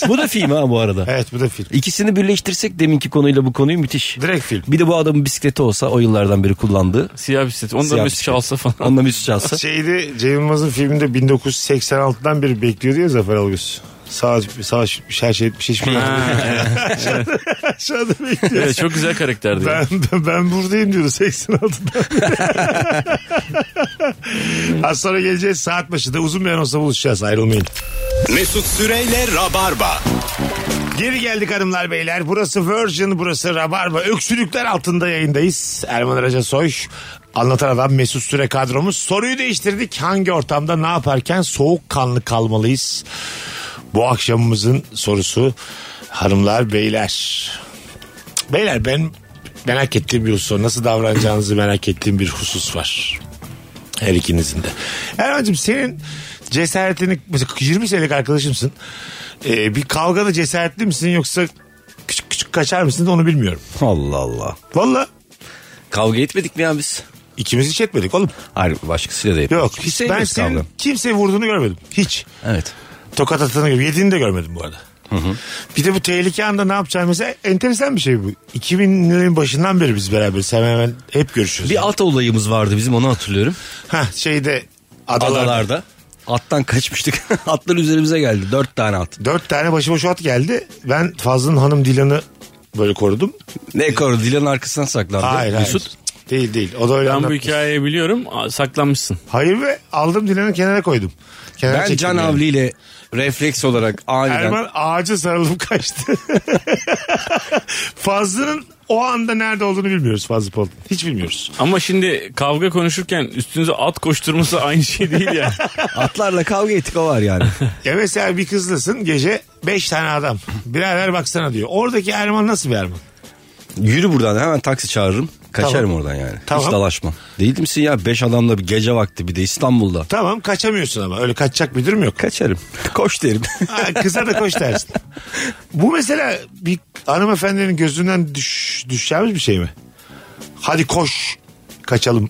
S2: bu da film ha bu arada.
S1: Evet bu da film.
S2: İkisini birleştirsek deminki konuyla bu konuyu müthiş.
S1: Direkt film.
S2: Bir de bu adamın bisikleti olsa o yıllardan beri kullandığı.
S3: Siyah bisiklet. Onu da
S2: Siyah
S3: Mesut çalsa falan.
S2: Onunla müzik çalsa.
S1: Şeyde Cem Yılmaz'ın filminde 1986'dan beri bekliyor diye Zafer Algöz. Savaş, savaş, her şey, bir şey, hiçbir şey. Aşağıda- Aşağıda bekliyor.
S3: Evet, çok güzel karakterdi.
S1: Ben, ben, ben buradayım diyordu 86'da. Az sonra geleceğiz saat başında uzun bir anonsla buluşacağız ayrılmayın.
S4: Mesut Süreyle Rabarba.
S1: Geri geldik hanımlar beyler. Burası Virgin, burası Rabarba. Öksürükler altında yayındayız. Erman Araca Soy, Anlatan Adam Mesut Süre kadromuz. Soruyu değiştirdik. Hangi ortamda ne yaparken soğukkanlı kalmalıyız? Bu akşamımızın sorusu hanımlar beyler. Beyler ben merak ettiğim bir husus var. Nasıl davranacağınızı merak ettiğim bir husus var. Her ikinizin de. Erman'cığım senin cesaretini mesela 20 senelik arkadaşımsın. Ee, bir kavgada cesaretli misin yoksa kaçar mısınız onu bilmiyorum.
S2: Allah Allah.
S1: Valla
S2: Kavga etmedik mi ya biz?
S1: ikimiz hiç etmedik oğlum.
S2: Hayır başkasıyla da etmedik.
S1: Yok.
S2: Hiç
S1: ben
S2: sevmedik
S1: senin
S2: Şey kavga.
S1: kimseyi vurduğunu görmedim. Hiç.
S2: Evet.
S1: Tokat atanı görmedim. Yediğini de görmedim bu arada. Bir de bu tehlike anda ne yapacağım mesela enteresan bir şey bu. 2000'lerin başından beri biz beraberiz. Hemen hemen hep görüşürüz.
S2: Bir at olayımız vardı bizim onu hatırlıyorum.
S1: Hah, şeyde
S2: Adalarda.
S1: adalarda.
S2: Attan kaçmıştık. Atlar üzerimize geldi. Dört tane at.
S1: Dört tane başıboş at geldi. Ben Fazlı'nın hanım Dilan'ı böyle korudum.
S2: Ne koru Dilan'ın arkasından saklandı.
S1: Hayır
S2: Mesut.
S1: hayır. Değil değil. O da öyle
S3: Ben bu
S1: anlatmış.
S3: hikayeyi biliyorum. A- Saklanmışsın.
S1: Hayır ve aldım Dilan'ı kenara koydum. Kenara
S2: Ben
S1: çektim
S2: Can
S1: yani.
S2: Avli ile refleks olarak aniden.
S1: Erman ağaca sarılıp kaçtı. Fazlı'nın o anda nerede olduğunu bilmiyoruz Fazlı Polat. Hiç bilmiyoruz.
S3: Ama şimdi kavga konuşurken üstünüze at koşturması aynı şey değil ya.
S2: Atlarla kavga ettik o var yani.
S1: Ya mesela bir kızlasın gece 5 tane adam. Birader baksana diyor. Oradaki Erman nasıl bir Erman?
S2: Yürü buradan hemen taksi çağırırım. Kaçarım
S1: Tamam.
S2: oradan yani.
S1: Tamam.
S2: Hiç dalaşmam. Değil misin ya? Beş adamla bir gece vakti bir de İstanbul'da.
S1: Tamam kaçamıyorsun ama öyle kaçacak bir durum yok.
S2: Kaçarım. Koş derim.
S1: Ha, kıza da koş dersin. Bu mesela bir hanımefendinin gözünden düş, düşeceğimiz bir şey mi? Hadi koş kaçalım.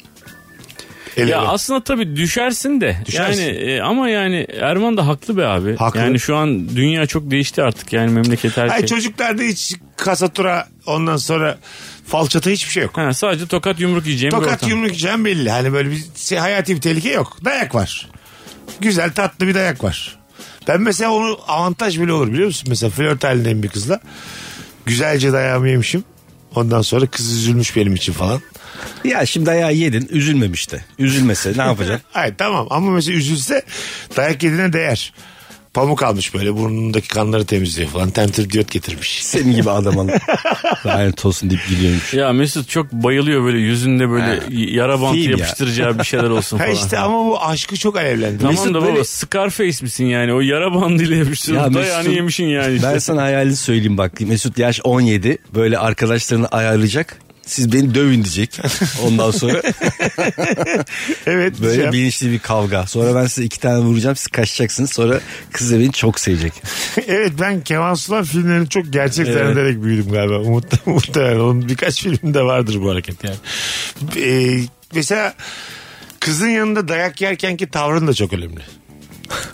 S1: El
S3: ya
S1: ele.
S3: aslında tabii düşersin de.
S1: Düşersin.
S3: Yani e, ama yani Erman da haklı be abi.
S1: Haklı.
S3: Yani şu an dünya çok değişti artık. Yani memleket her
S1: Ay
S3: şey.
S1: çocuklarda hiç kasatura ondan sonra falçata hiçbir şey yok.
S3: Ha, sadece tokat yumruk yiyeceğim bir
S1: Tokat
S3: ortam.
S1: yumruk yiyeceğim belli. Hani böyle bir şey, hayati bir tehlike yok. Dayak var. Güzel tatlı bir dayak var. Ben mesela onu avantaj bile olur biliyor musun? Mesela flört halindeyim bir kızla. Güzelce dayağımı yemişim. Ondan sonra kız üzülmüş benim için falan.
S2: ya şimdi ayağı yedin. Üzülmemiş de. Üzülmese ne yapacaksın?
S1: Hayır tamam ama mesela üzülse dayak yediğine değer. Pamuk almış böyle burnundaki kanları temizliyor falan. Temtirdiyot getirmiş.
S2: Senin gibi adamın. Lanet olsun deyip gidiyormuş.
S3: Ya Mesut çok bayılıyor böyle yüzünde böyle y- yara bantı
S2: Film ya.
S3: yapıştıracağı bir şeyler olsun
S1: Ha
S3: falan.
S1: işte ama bu aşkı çok alevlendi.
S3: Tamam
S2: Mesut
S3: da baba
S2: böyle-
S3: Scarface misin yani? O yara bandıyla yapıştırdın.
S2: Ya
S3: Ya
S2: Mesut-
S3: yemişin yani işte.
S2: Ben sana hayalini söyleyeyim bak. Mesut yaş 17. Böyle arkadaşlarını ayarlayacak. Siz beni dövün diyecek. Ondan sonra
S1: Evet.
S2: böyle
S1: şey-
S2: bilinçli bir kavga. Sonra ben size iki tane vuracağım. Siz kaçacaksınız. Sonra kız da beni çok sevecek.
S1: evet ben Kemal Sular filmlerini çok gerçek
S2: Evet.
S1: zannederek büyüdüm galiba. Umut, muhtemelen onun birkaç filminde vardır bu hareket yani. Ee, mesela kızın yanında dayak yerkenki tavrın da çok önemli.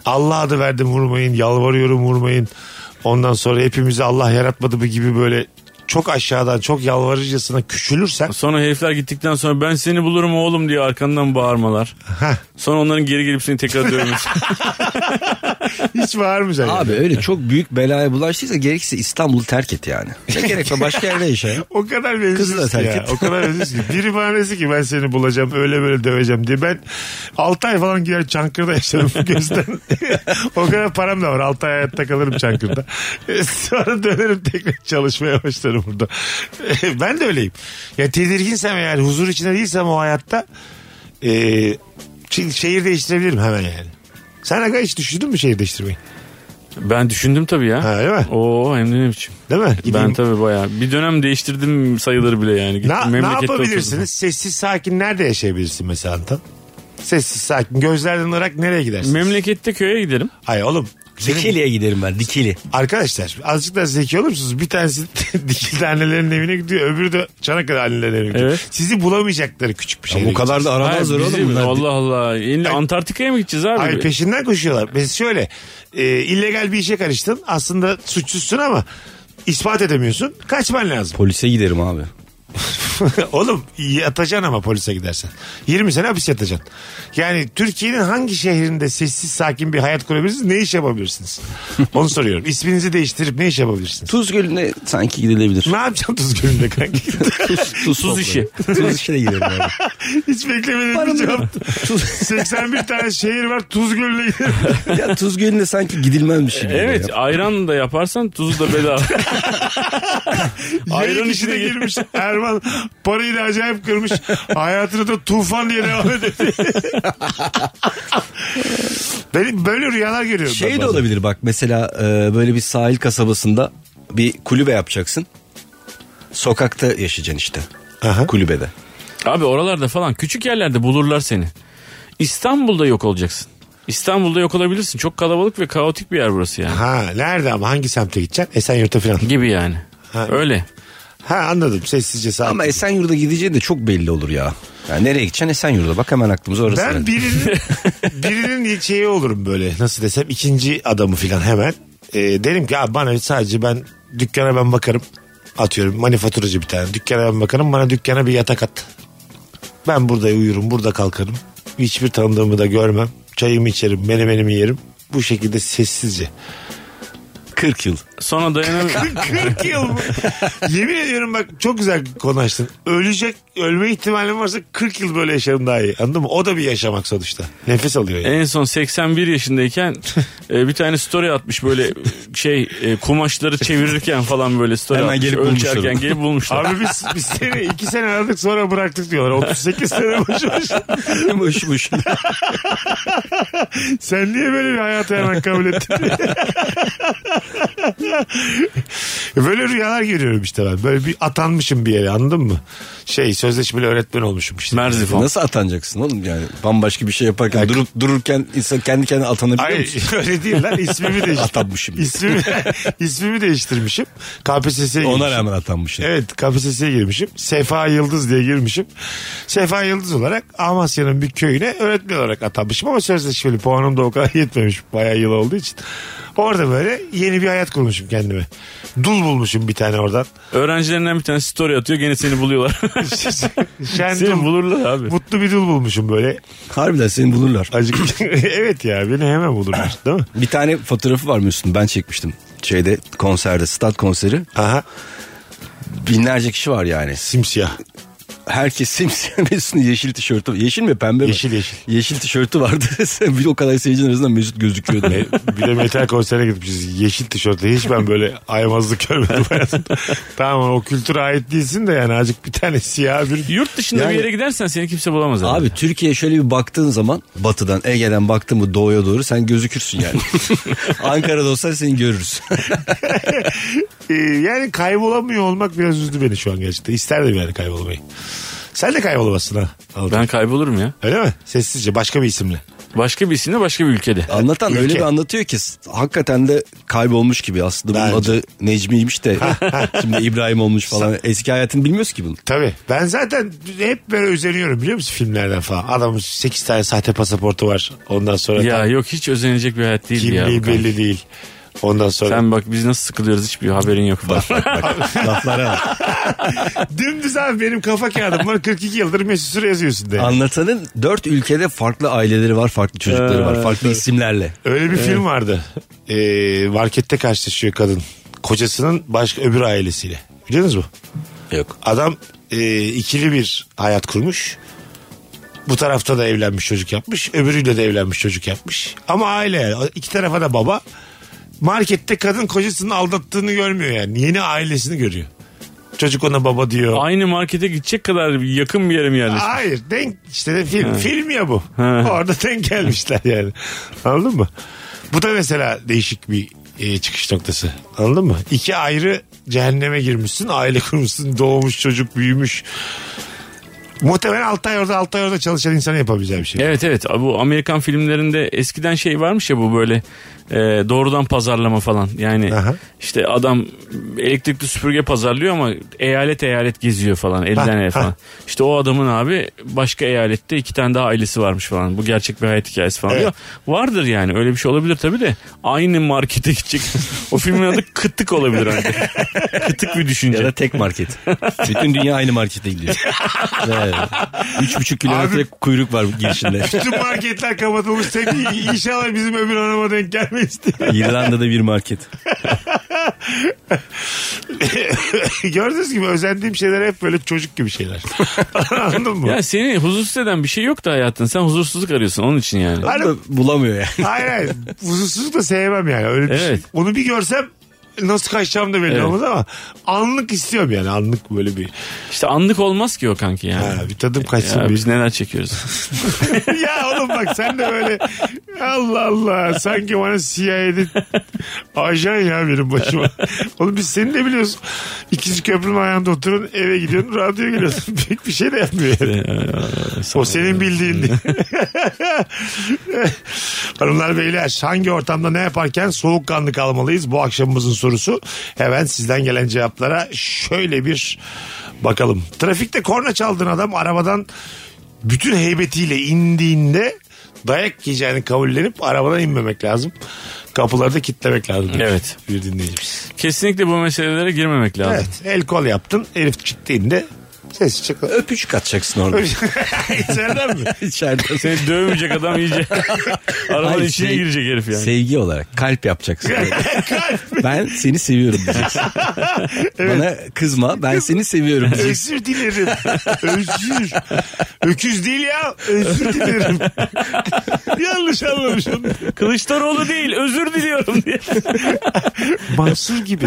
S1: Allah adı verdim vurmayın, yalvarıyorum vurmayın. Ondan sonra hepimizi Allah yaratmadı bu gibi böyle çok aşağıdan çok yalvarıcısına küçülürsen
S3: Sonra herifler gittikten sonra ben seni bulurum oğlum diye arkandan bağırmalar. Sonra onların geri gelip seni tekrar dövmesi.
S1: hiç bağırmayacaksın. yani.
S2: Abi öyle çok büyük belaya bulaştıysa gerekirse İstanbul'u terk et yani. Ne gerek var başka yerde yaşa ya.
S1: O kadar
S2: Kızı da
S1: benziyorsun
S2: terk
S1: ya.
S2: et.
S1: O kadar benziyorsun ki. Biri bana dese ki ben seni bulacağım öyle böyle döveceğim diye. Ben 6 ay falan gider Çankırı'da yaşarım gözden. o kadar param da var. 6 ay hayatta kalırım Çankırı'da. Sonra dönerim tekrar çalışmaya başlarım burada. ben de öyleyim. Ya tedirginsem yani huzur içinde değilsem o hayatta e, şi- şehir değiştirebilirim hemen yani. Sen aga hiç düşündün mü şehir değiştirmeyi?
S3: ben düşündüm tabii ya.
S1: Ha, değil mi?
S3: Oo hem de ne biçim.
S1: Değil mi? Gideyim-
S3: Ben tabii bayağı. Bir dönem değiştirdim sayılır bile yani. Gittim
S1: Ne, ne
S3: memlekette
S1: yapabilirsiniz?
S3: oturdum.
S1: Sessiz sakin nerede yaşayabilirsin mesela Antan? Sessiz sakin gözlerden ırak nereye gidersin?
S3: Memlekette köye giderim.
S1: Hayır oğlum. senin-
S2: Dikili'ye giderim ben Dikili.
S1: Arkadaşlar azıcık daha zeki olur musunuz? Bir tanesi dikili annelerin evine gidiyor. Öbürü de Çanakkale annelerin evine gidiyor.
S3: Evet.
S1: Sizi bulamayacakları küçük bir şey.
S2: Bu kadar da
S3: Hayır,
S2: aramazlar
S3: bizim-
S2: oğlum bunlar.
S3: Allah Allah. İlla
S1: Ay-
S3: Antarktika'ya mı gideceğiz abi?
S1: Hayır peşinden koşuyorlar. Mesela şöyle e, illegal bir işe karıştın. Aslında suçsuzsun ama ispat edemiyorsun. Kaçman lazım.
S2: Polise giderim abi.
S1: Oğlum yatacaksın ama polise gidersen. 20 sene hapis yatacaksın. Yani Türkiye'nin hangi şehrinde sessiz sakin bir hayat kurabilirsiniz? Ne iş yapabilirsiniz? Onu soruyorum. İsminizi değiştirip ne iş yapabilirsiniz?
S2: Tuz Gölü'ne sanki gidilebilir.
S1: Ne yapacaksın Tuz Gölü'nde kanki?
S2: Tuz,
S3: toplarım.
S2: Tuz işine giderim abi.
S1: Hiç beklemediğim bir cevap. 81 tane şehir var Tuz Gölü'ne gidelim.
S2: ya Tuz Gölü'ne sanki gidilmezmiş gibi.
S3: Evet
S2: ya.
S3: ayran da yaparsan tuzu da bedava.
S1: Ayran
S3: Ayran
S1: içine
S3: işine gir-
S1: girmiş. Erman parayı da acayip kırmış. Hayatını da tufan diye devam ediyor. Benim böyle rüyalar görüyorum. ben
S2: Şey de
S1: bazen.
S2: olabilir bak mesela e, böyle bir sahil kasabasında bir kulübe yapacaksın. Sokakta yaşayacaksın işte.
S1: Aha.
S2: Kulübede.
S3: Abi oralarda falan küçük yerlerde bulurlar seni. İstanbul'da yok olacaksın. İstanbul'da yok olabilirsin. Çok kalabalık ve kaotik bir yer burası yani.
S1: Ha nerede ama hangi semte gideceksin? Esenyurt'a falan.
S3: Gibi yani.
S1: Ha.
S3: Öyle.
S1: Ha anladım sessizce saat.
S2: Ama Esenyurt'a gideceği de çok belli olur ya. Yani nereye gideceksin Esenyurt'a bak hemen aklımıza orası.
S1: ben
S2: geldi.
S1: birinin birinin şeyi olurum böyle nasıl desem ikinci adamı filan hemen. Ee, derim ki abi bana sadece ben dükkana ben bakarım atıyorum manifaturacı bir tane dükkana ben bakarım bana dükkana bir yatak at. Ben burada uyurum burada kalkarım hiçbir tanıdığımı da görmem çayımı içerim menemenimi yerim bu şekilde sessizce.
S2: 40 yıl.
S3: Sonra dayanamıyorum.
S1: 40 yıl mı? Yemin ediyorum bak çok güzel konu açtın. Ölecek, ölme ihtimalim varsa 40 yıl böyle yaşarım daha iyi. Anladın mı? O da bir yaşamak sonuçta. Nefes alıyor yani.
S3: en son 81 yaşındayken e, bir tane story atmış böyle şey e, kumaşları çevirirken falan böyle story
S2: Hemen
S3: atmış.
S2: gelip bulmuşlar
S3: Ölçerken
S2: onu.
S3: gelip bulmuşlar.
S1: Abi biz, biz seni 2 sene aradık sonra bıraktık diyorlar. 38 sene boş boş.
S2: boş boş.
S1: Sen niye böyle bir hayatı hemen kabul ettin? böyle rüyalar görüyorum işte ben. Böyle bir atanmışım bir yere anladın mı? Şey sözleşmeli öğretmen olmuşum işte.
S3: Merzifon.
S2: Nasıl atanacaksın oğlum yani? Bambaşka bir şey yaparken
S1: Ya-
S2: durup dururken insan kendi kendine atanabiliyor
S1: Ay
S2: musun?
S1: öyle değil lan ismimi değiştirmişim.
S2: Atanmışım.
S1: İsmimi, ismimi değiştirmişim. KPSS'ye
S2: Ona
S1: girmişim.
S2: rağmen atanmışsın.
S1: Evet KPSS'ye girmişim. Sefa Yıldız diye girmişim. Sefa Yıldız olarak Amasya'nın bir köyüne öğretmen olarak atanmışım ama sözleşmeli puanım da o kadar yetmemiş bayağı yıl olduğu için. Orada böyle yeni bir hayat kurmuşum kendime. Dul bulmuşum bir tane oradan.
S3: Öğrencilerinden bir tane story atıyor gene seni buluyorlar.
S1: Şen
S3: seni
S1: dul-
S3: bulurlar abi.
S1: Mutlu bir dul bulmuşum böyle.
S2: Harbiden seni bulurlar.
S1: Acık. evet ya beni hemen bulurlar değil mi?
S2: Bir tane fotoğrafı var Müslüm ben çekmiştim. Şeyde konserde stat konseri
S1: Aha
S2: binlerce kişi var yani.
S1: simsiyah.
S2: Herkes simsiyah Mesut'un yeşil tişörtü. Yeşil mi pembe mi?
S1: Yeşil, yeşil.
S2: Yeşil tişörtü vardı. bir o kadar seyircinin arasında Mesut gözüküyordu.
S1: Bir de metal konsere gitmişiz. Yeşil tişörtle hiç ben böyle aymazlık görmedim hayatımda. tamam o kültüre ait değilsin de yani azıcık bir tane siyah bir...
S3: Yurt dışında
S2: Yani-
S3: bir yere gidersen seni kimse bulamaz abi.
S2: Abi Türkiye'ye şöyle bir baktığın zaman batıdan Ege'den baktın mı doğuya doğru sen gözükürsün yani. Ankara'da olsan seni görürüz.
S1: Ee, yani kaybolamıyor olmak biraz üzdü beni şu an gerçekten. İsterdim yani kaybolmayı. Sen de kaybolamazsın ha. Anladım.
S3: Ben kaybolurum ya.
S1: Öyle mi? Sessizce başka bir isimle.
S3: Başka bir isimde başka bir ülkede.
S2: Anlatan
S1: Ülke.
S2: öyle bir anlatıyor ki hakikaten de kaybolmuş gibi aslında bunun
S1: Bence.
S2: adı Necmi'ymiş de şimdi İbrahim olmuş falan. Eski hayatını bilmiyoruz ki bunu.
S1: Tabii. Ben zaten hep böyle özeniyorum biliyor musun filmlerden falan. Adamın 8 tane sahte pasaportu var. Ondan sonra
S3: Ya
S1: tam
S3: yok hiç özenecek bir hayat değil ya.
S1: kimliği
S3: bu kanka.
S1: belli değil. Ondan sonra
S3: Sen bak biz nasıl sıkılıyoruz hiçbir haberin yok.
S2: Laflara bak.
S1: dümdüz abi benim kafa kağıdım var 42 yıldır Mesut Süre yazıyorsun de.
S2: Anlatanın dört ülkede farklı aileleri var, farklı çocukları var, farklı isimlerle.
S1: Öyle bir film vardı. Ee, markette karşılaşıyor kadın. Kocasının başka öbür ailesiyle. Biliyor musunuz bu?
S2: Yok.
S1: Adam e, ikili bir hayat kurmuş. Bu tarafta da evlenmiş çocuk yapmış. Öbürüyle de evlenmiş çocuk yapmış. Ama aile yani. iki tarafa da baba. Markette kadın kocasının aldattığını görmüyor yani. Yeni ailesini görüyor. Çocuk ona baba diyor.
S3: Aynı markete gidecek kadar yakın bir yere mi yerleşmiş?
S1: Hayır denk işte de film film ya bu. Orada denk gelmişler yani. Anladın mı? Bu da mesela değişik bir e, çıkış noktası. Anladın mı? İki ayrı cehenneme girmişsin, aile kurmuşsun, doğmuş çocuk büyümüş. Muhtemelen 6 ay orada 6 ay orada çalışan insanın yapabileceği bir şey.
S3: Evet evet bu Amerikan filmlerinde eskiden şey varmış ya bu böyle e, doğrudan pazarlama falan yani
S1: Aha.
S3: işte adam elektrikli süpürge pazarlıyor ama eyalet eyalet geziyor falan elden
S1: Ha,
S3: ele
S1: ha.
S3: falan. İşte o adamın abi başka eyalette iki tane daha ailesi varmış falan bu gerçek bir hayat hikayesi falan
S1: Evet.
S3: diyor. Vardır yani öyle bir şey olabilir tabii de aynı markete gidecek o filmin adı kıtlık olabilir hani. kıtlık bir düşünce.
S2: Ya da tek market. Bütün dünya aynı markete gidiyor. Evet. Üç buçuk kilometre
S1: Abi-
S2: kuyruk var girişinde.
S1: Bütün marketler kapatılmış. Tek inşallah bizim öbür hanıma denk gelmeyiz diye.
S2: İrlanda'da bir market.
S1: Gördüğünüz gibi özendiğim şeyler hep böyle çocuk gibi şeyler. Anladın mı?
S3: Ya seni huzursuz eden bir şey yok da hayatın sen huzursuzluk arıyorsun onun için yani.
S2: Onu da bulamıyor yani.
S1: Hayır hayır. Huzursuzluk da sevmem yani. Öyle bir şey.
S3: Evet.
S1: Onu bir görsem nasıl kaçacağım da belli
S3: Evet.
S1: olmaz ama anlık istiyorum yani anlık böyle bir
S3: İşte anlık olmaz ki o kanki yani.
S1: ha, bir tadım kaçsın
S3: Ya
S1: bir.
S3: biz neler çekiyoruz.
S1: ya oğlum bak sen de böyle Allah Allah sanki bana CIA'de ajan ya benim başıma. Oğlum biz seni de biliyoruz. İkinci köprünün ayağında oturun eve gidiyorsun radyoya geliyorsun. Pek bir şey de yapmıyor yani. o senin bildiğin değil. Hanımlar beyler hangi ortamda ne yaparken soğukkanlı kalmalıyız? Bu akşamımızın sorusu. sorusu. Hemen sizden gelen cevaplara şöyle bir bakalım. Trafikte korna çaldığın adam arabadan bütün heybetiyle indiğinde dayak yiyeceğini kabullenip arabadan inmemek lazım. Kapıları da kitlemek lazım. demiş
S3: Evet.
S1: Bir dinleyicimiz.
S3: Kesinlikle bu meselelere girmemek lazım.
S1: Evet. El kol yaptın. Elif çıktığında ses çıkıyor.
S2: Öpücük atacaksın orada.
S1: İçeriden mi?
S2: İçeride.
S3: Seni dövmeyecek adam iyice. Arabanın
S2: Hayır,
S3: içine
S2: sev-
S3: girecek herif yani.
S2: Sevgi olarak kalp yapacaksın. ben seni seviyorum diyeceksin. Bana kızma ben seni seviyorum diyeceksin.
S1: Özür dilerim. Özür. Öküz değil ya. Özür dilerim. Yanlış anlamışım.
S3: Kılıçdaroğlu değil özür diliyorum diye.
S1: Mansur gibi.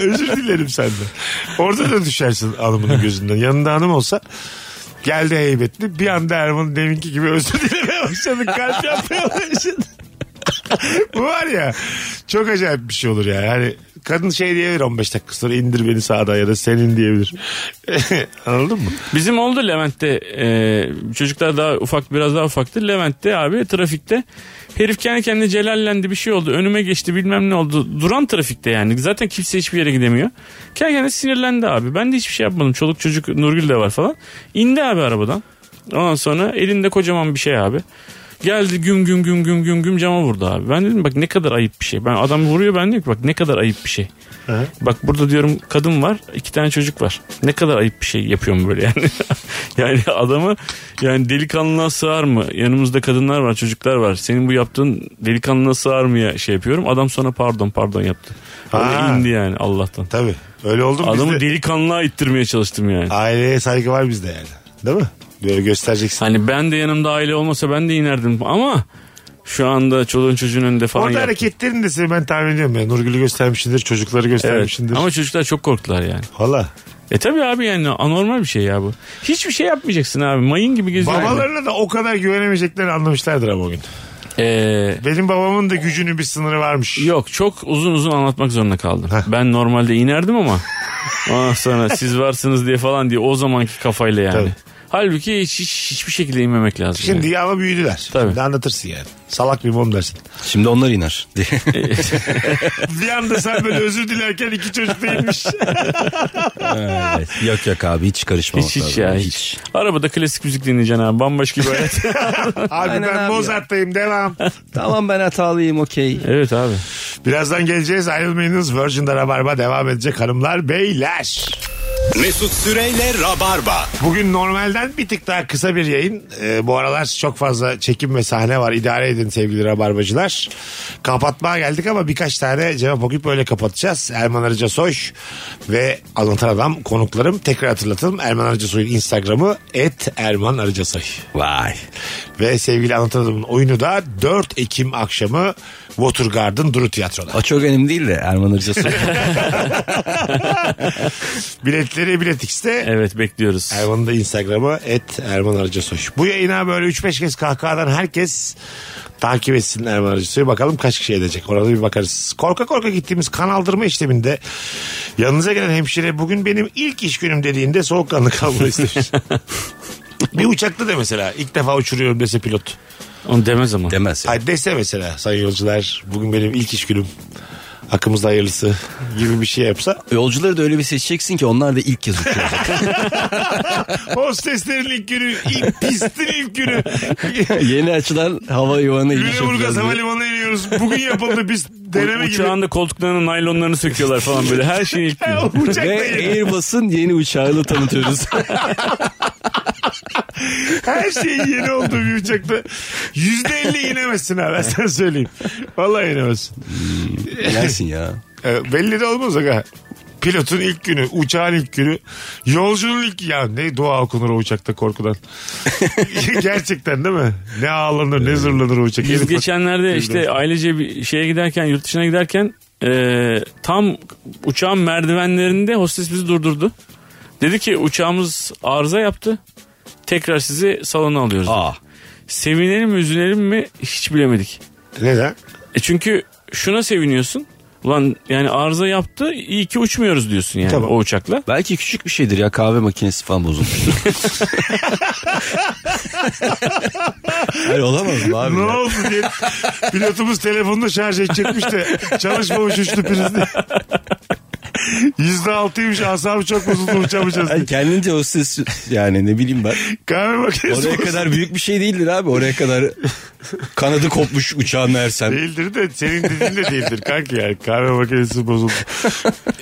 S1: Özür dilerim senden. Orada da düşersin hanımının gözünden. Yanında hanım olsa geldi heybetli. Bir anda Erman'ın deminki gibi özür dilemeye başladı. Kalp yapmaya başladı. Bu var ya çok acayip bir şey olur yani. Hani kadın şey diyebilir 15 dakika sonra indir beni sağda ya da senin diyebilir. Anladın mı?
S3: Bizim oldu Levent'te e, çocuklar daha ufak biraz daha ufaktı. Levent'te abi trafikte herif kendi kendine celallendi bir şey oldu. Önüme geçti bilmem ne oldu. Duran trafikte yani zaten kimse hiçbir yere gidemiyor. Kendi kendine sinirlendi abi. Ben de hiçbir şey yapmadım. Çoluk çocuk Nurgül de var falan. İndi abi arabadan. Ondan sonra elinde kocaman bir şey abi. Geldi güm güm güm güm güm güm cama vurdu abi. Ben dedim bak ne kadar ayıp bir şey. Ben adam vuruyor ben diyorum ki bak ne kadar ayıp bir şey. Bak burada diyorum kadın var iki tane çocuk var. Ne kadar ayıp bir şey yapıyorum böyle yani. yani adamı yani delikanlılığa sığar mı? Yanımızda kadınlar var çocuklar var. Senin bu yaptığın delikanlılığa sığar mı ya şey yapıyorum. Adam sonra pardon pardon yaptı.
S1: Ha.
S3: Ona indi yani Allah'tan.
S1: Tabii. Öyle oldu mu
S3: Adamı
S1: bizde?
S3: delikanlılığa ittirmeye çalıştım yani.
S1: Aileye saygı var bizde yani. Değil mi? Böyle göstereceksin.
S3: Hani ben de yanımda aile olmasa ben de inerdim ama şu anda çoluğun çocuğun önünde falan
S1: Orada
S3: yaptım.
S1: hareketlerin de seni ben tahmin ediyorum ya. Nurgül'ü göstermişsindir, çocukları
S3: Evet.
S1: göstermişsindir.
S3: Ama çocuklar çok korktular yani.
S1: Valla.
S3: E tabi abi yani anormal bir şey ya bu. Hiçbir şey yapmayacaksın abi. Mayın gibi geziyorsun.
S1: Babalarına da o kadar güvenemeyeceklerini anlamışlardır ama bugün.
S3: Ee,
S1: Benim babamın da gücünün bir sınırı varmış.
S3: yok çok uzun uzun anlatmak zorunda kaldım. Ben normalde inerdim ama ondan sonra siz varsınız diye falan diye o zamanki kafayla yani.
S1: Tabii.
S3: Halbuki hiç, hiç- hiçbir şekilde inmemek lazım.
S1: Şimdi ya ama büyüdüler.
S3: Tabii.
S1: Şimdi anlatırsın yani. Salak bir mom dersin.
S2: Şimdi onlar iner.
S1: bir anda sen böyle özür dilerken iki çocuk değilmiş.
S2: Evet. Yok yok abi hiç karışmamak
S3: Hiç hiç
S2: lazım.
S3: ya hiç. Arabada klasik müzik dinleyeceksin abi. Bambaşka bir hayat.
S1: abi
S2: Aynen abi
S1: ben
S2: ya.
S1: Mozart'tayım devam.
S2: Tamam ben hatalıyım okey.
S3: evet abi.
S1: Birazdan geleceğiz ayrılmayınız. Virgin'de Rabarba devam edecek hanımlar beyler.
S4: Mesut Süreyle Rabarba.
S1: Bugün normalden bir tık daha kısa bir yayın. Ee, bu aralar çok fazla çekim ve sahne var. İdare edin sevgili rabarbacılar. Kapatmaya geldik ama birkaç tane cevap okuyup öyle kapatacağız. Erman Arıca Soy ve Anlatan Adam konuklarım. Tekrar hatırlatalım. Erman Arıca Soy'un Instagram'ı et Erman Arıca Soy.
S2: Vay.
S1: Ve sevgili Anlatan Adam'ın oyunu da 4 Ekim akşamı Watergarden Duru Tiyatro'da.
S2: O çok önemli değil de Erman Arıca soru.
S1: Biletleri Bilet X'te.
S3: Evet bekliyoruz.
S1: Erman'ın da Instagram'a et Erman Arıcasoy. Bu yayına böyle 3-5 kez kahkahadan herkes takip etsin Erman Arıcasoy'u. Bakalım kaç kişi edecek. Orada bir bakarız. Korka korka gittiğimiz kan aldırma işleminde yanınıza gelen hemşire bugün benim ilk iş günüm dediğinde soğukkanlı kalmayı istemiş. bir uçakta da mesela ilk defa uçuruyorum dese pilot.
S3: Onu demez ama.
S2: demez. ya.
S1: Hayır dese mesela sayın yolcular bugün benim ilk iş günüm. Hakkımızda hayırlısı gibi bir şey yapsa.
S2: Yolcuları da öyle bir seçeceksin ki onlar da ilk kez uçuyor.
S1: Hosteslerin ilk günü, ilk pistin ilk günü.
S2: Yeni açılan hava yuvanı
S1: Lüleburgaz Havalimanı'na iniyoruz. Bugün yapıldı biz deneme gibi.
S3: Uçağın da koltuklarının naylonlarını söküyorlar falan böyle. Her şeyi ilk gün.
S1: Uçakla
S2: Ve
S1: iniyoruz.
S2: Airbus'un yeni uçağını tanıtıyoruz.
S1: Her şeyin yeni olduğu bir uçakta. Yüzde elli inemezsin abi ben sana söyleyeyim. Vallahi inemezsin.
S2: Gelsin ya.
S1: Ee, belli de olmaz aga. Pilotun ilk günü, uçağın ilk günü, yolcunun ilk ya ne dua okunur o uçakta korkudan. Gerçekten değil mi? Ne ağlanır, ne zırlanır o uçak.
S3: Ee, Biz
S1: Herif-
S3: geçenlerde işte ailece bir şeye giderken yurt dışına giderken e, tam uçağın merdivenlerinde hostes bizi durdurdu. Dedi ki uçağımız arıza yaptı. Tekrar sizi salona alıyoruz.
S1: Ah.
S2: Aa.
S3: Sevinelim mi üzülelim mi hiç bilemedik.
S1: Neden?
S3: E çünkü şuna seviniyorsun. Ulan yani arıza yaptı iyi ki uçmuyoruz diyorsun yani
S1: Tamam.
S3: o uçakla.
S2: Belki küçük bir şeydir ya kahve makinesi falan bozulmuştur. Hayır olamaz mı abi?
S1: Ne
S2: ya?
S1: oldu diye pilotumuz telefonda şarj edecekmiş de çalışmamış uçtu priz diye. Yüzde altıymış asabı çok bozuldu uçamayacağız diye.
S2: Hayır, kendince o ses yani ne bileyim ben.
S1: Kahve makinesi
S2: Oraya
S1: bozuldu.
S2: kadar büyük bir şey değildir abi. Oraya kadar kanadı kopmuş uçağın Ersen.
S1: Değildir de senin dediğin de değildir kanki yani kahve makinesi bozuldu.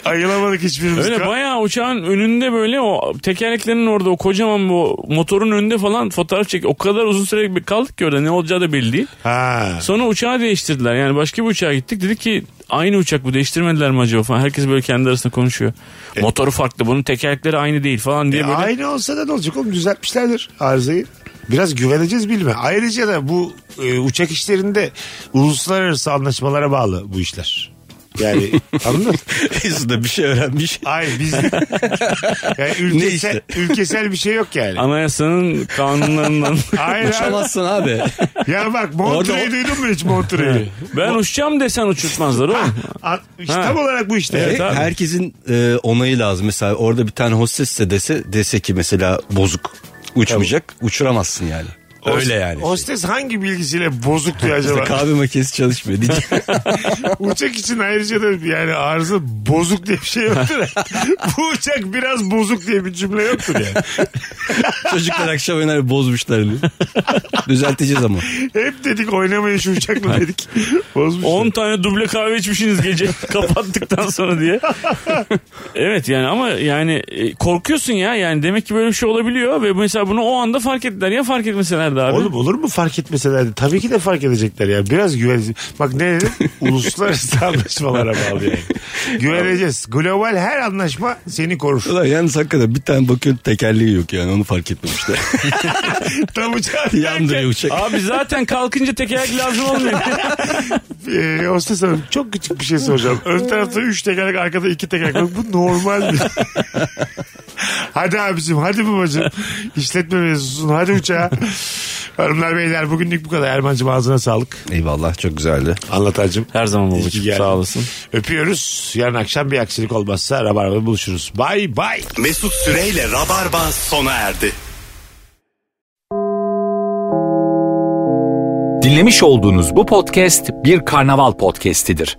S1: Ayılamadık hiçbirimiz.
S3: Öyle
S1: Ka-
S3: bayağı uçağın önünde böyle o tekerleklerin orada o kocaman bu motorun önünde falan fotoğraf çek. O kadar uzun süre bir kaldık ki orada ne olacağı da belli değil.
S1: Ha.
S3: Sonra uçağı değiştirdiler yani başka bir uçağa gittik. Dedik ki aynı uçak bu değiştirmediler mi acaba falan. Herkes böyle kendi arasında konuşuyor. Motoru farklı bunun tekerlekleri aynı değil falan diye
S1: E,
S3: böyle.
S1: Aynı olsa da ne olacak oğlum düzeltmişlerdir arızayı. Biraz güveneceğiz bilme. Ayrıca da bu e, uçak işlerinde uluslararası anlaşmalara bağlı bu işler. Yani anladın mı?
S2: Esu da bir şey öğrenmiş.
S1: Hayır biz yani ülkesel,
S2: işte?
S1: ülkesel bir şey yok yani.
S3: Anayasanın kanunlarından.
S1: Hayır abi.
S2: Uçamazsın abi.
S1: Ya bak Montreux'u
S2: Orada-
S1: duydun mu hiç Montreux'u?
S3: ben uçacağım desen uçurtmazlar oğlum.
S1: A- İşte
S3: Ha.
S1: tam olarak bu işte.
S2: Ve
S3: abi.
S2: herkesin e, onayı lazım. Mesela orada bir tane hostesse dese dese ki mesela bozuk uçmayacak uçuramazsın yani. Öyle yani. şey.
S1: Hostes hangi bilgisiyle bozuktu
S2: İşte
S1: acaba?
S2: kahve makinesi çalışmıyor diyecek.
S1: Uçak için ayrıca da yani arıza bozuk diye bir şey yoktur. Bu uçak biraz bozuk diye bir cümle yoktur yani.
S2: Çocuklar akşam oynar bozmuşlar diye. Düzelteceğiz ama.
S1: Hep dedik oynamayın şu uçakla dedik. Bozmuşlar.
S3: 10 tane duble kahve içmişsiniz gece kapattıktan sonra diye. evet yani ama yani e, korkuyorsun ya yani demek ki böyle bir şey olabiliyor ve mesela bunu o anda fark ettiler ya fark etmeselerdi abi.
S1: Oğlum olur mu fark etmeselerdi? Tabii ki de fark edecekler ya. Biraz güveneceğiz. Bak ne dedim? Uluslararası anlaşmalara bağlı yani. Güveneceğiz. Global her anlaşma seni korur.
S2: Ulan yalnız hakikaten bir tane bakıyorsun tekerleği yok yani onu fark etmemişler.
S1: Tam uçağa
S2: Yandırıyor uçak.
S3: Abi zaten kalkınca tekerlek lazım olmuyor.
S1: Ee, hostes hanım çok küçük bir şey soracağım. Ön tarafta 3 tekerlek arkada 2 tekerlek. Bak bu normal mi? hadi abicim hadi babacım. İşletme mevzusun hadi uçağa. Hanımlar beyler bugünlük bu kadar. Erman'cım ağzına sağlık.
S2: Eyvallah çok güzeldi.
S1: Anlatacım.
S3: Her zaman
S1: İyi ki
S3: babacığım
S1: geldin.
S3: sağ olasın.
S1: Öpüyoruz. Yarın akşam bir aksilik olmazsa Rabarba'da buluşuruz. Bay bay.
S4: Mesut Süreyle Rabarba sona erdi.
S5: Dinlemiş olduğunuz bu podcast bir karnaval podcastidir.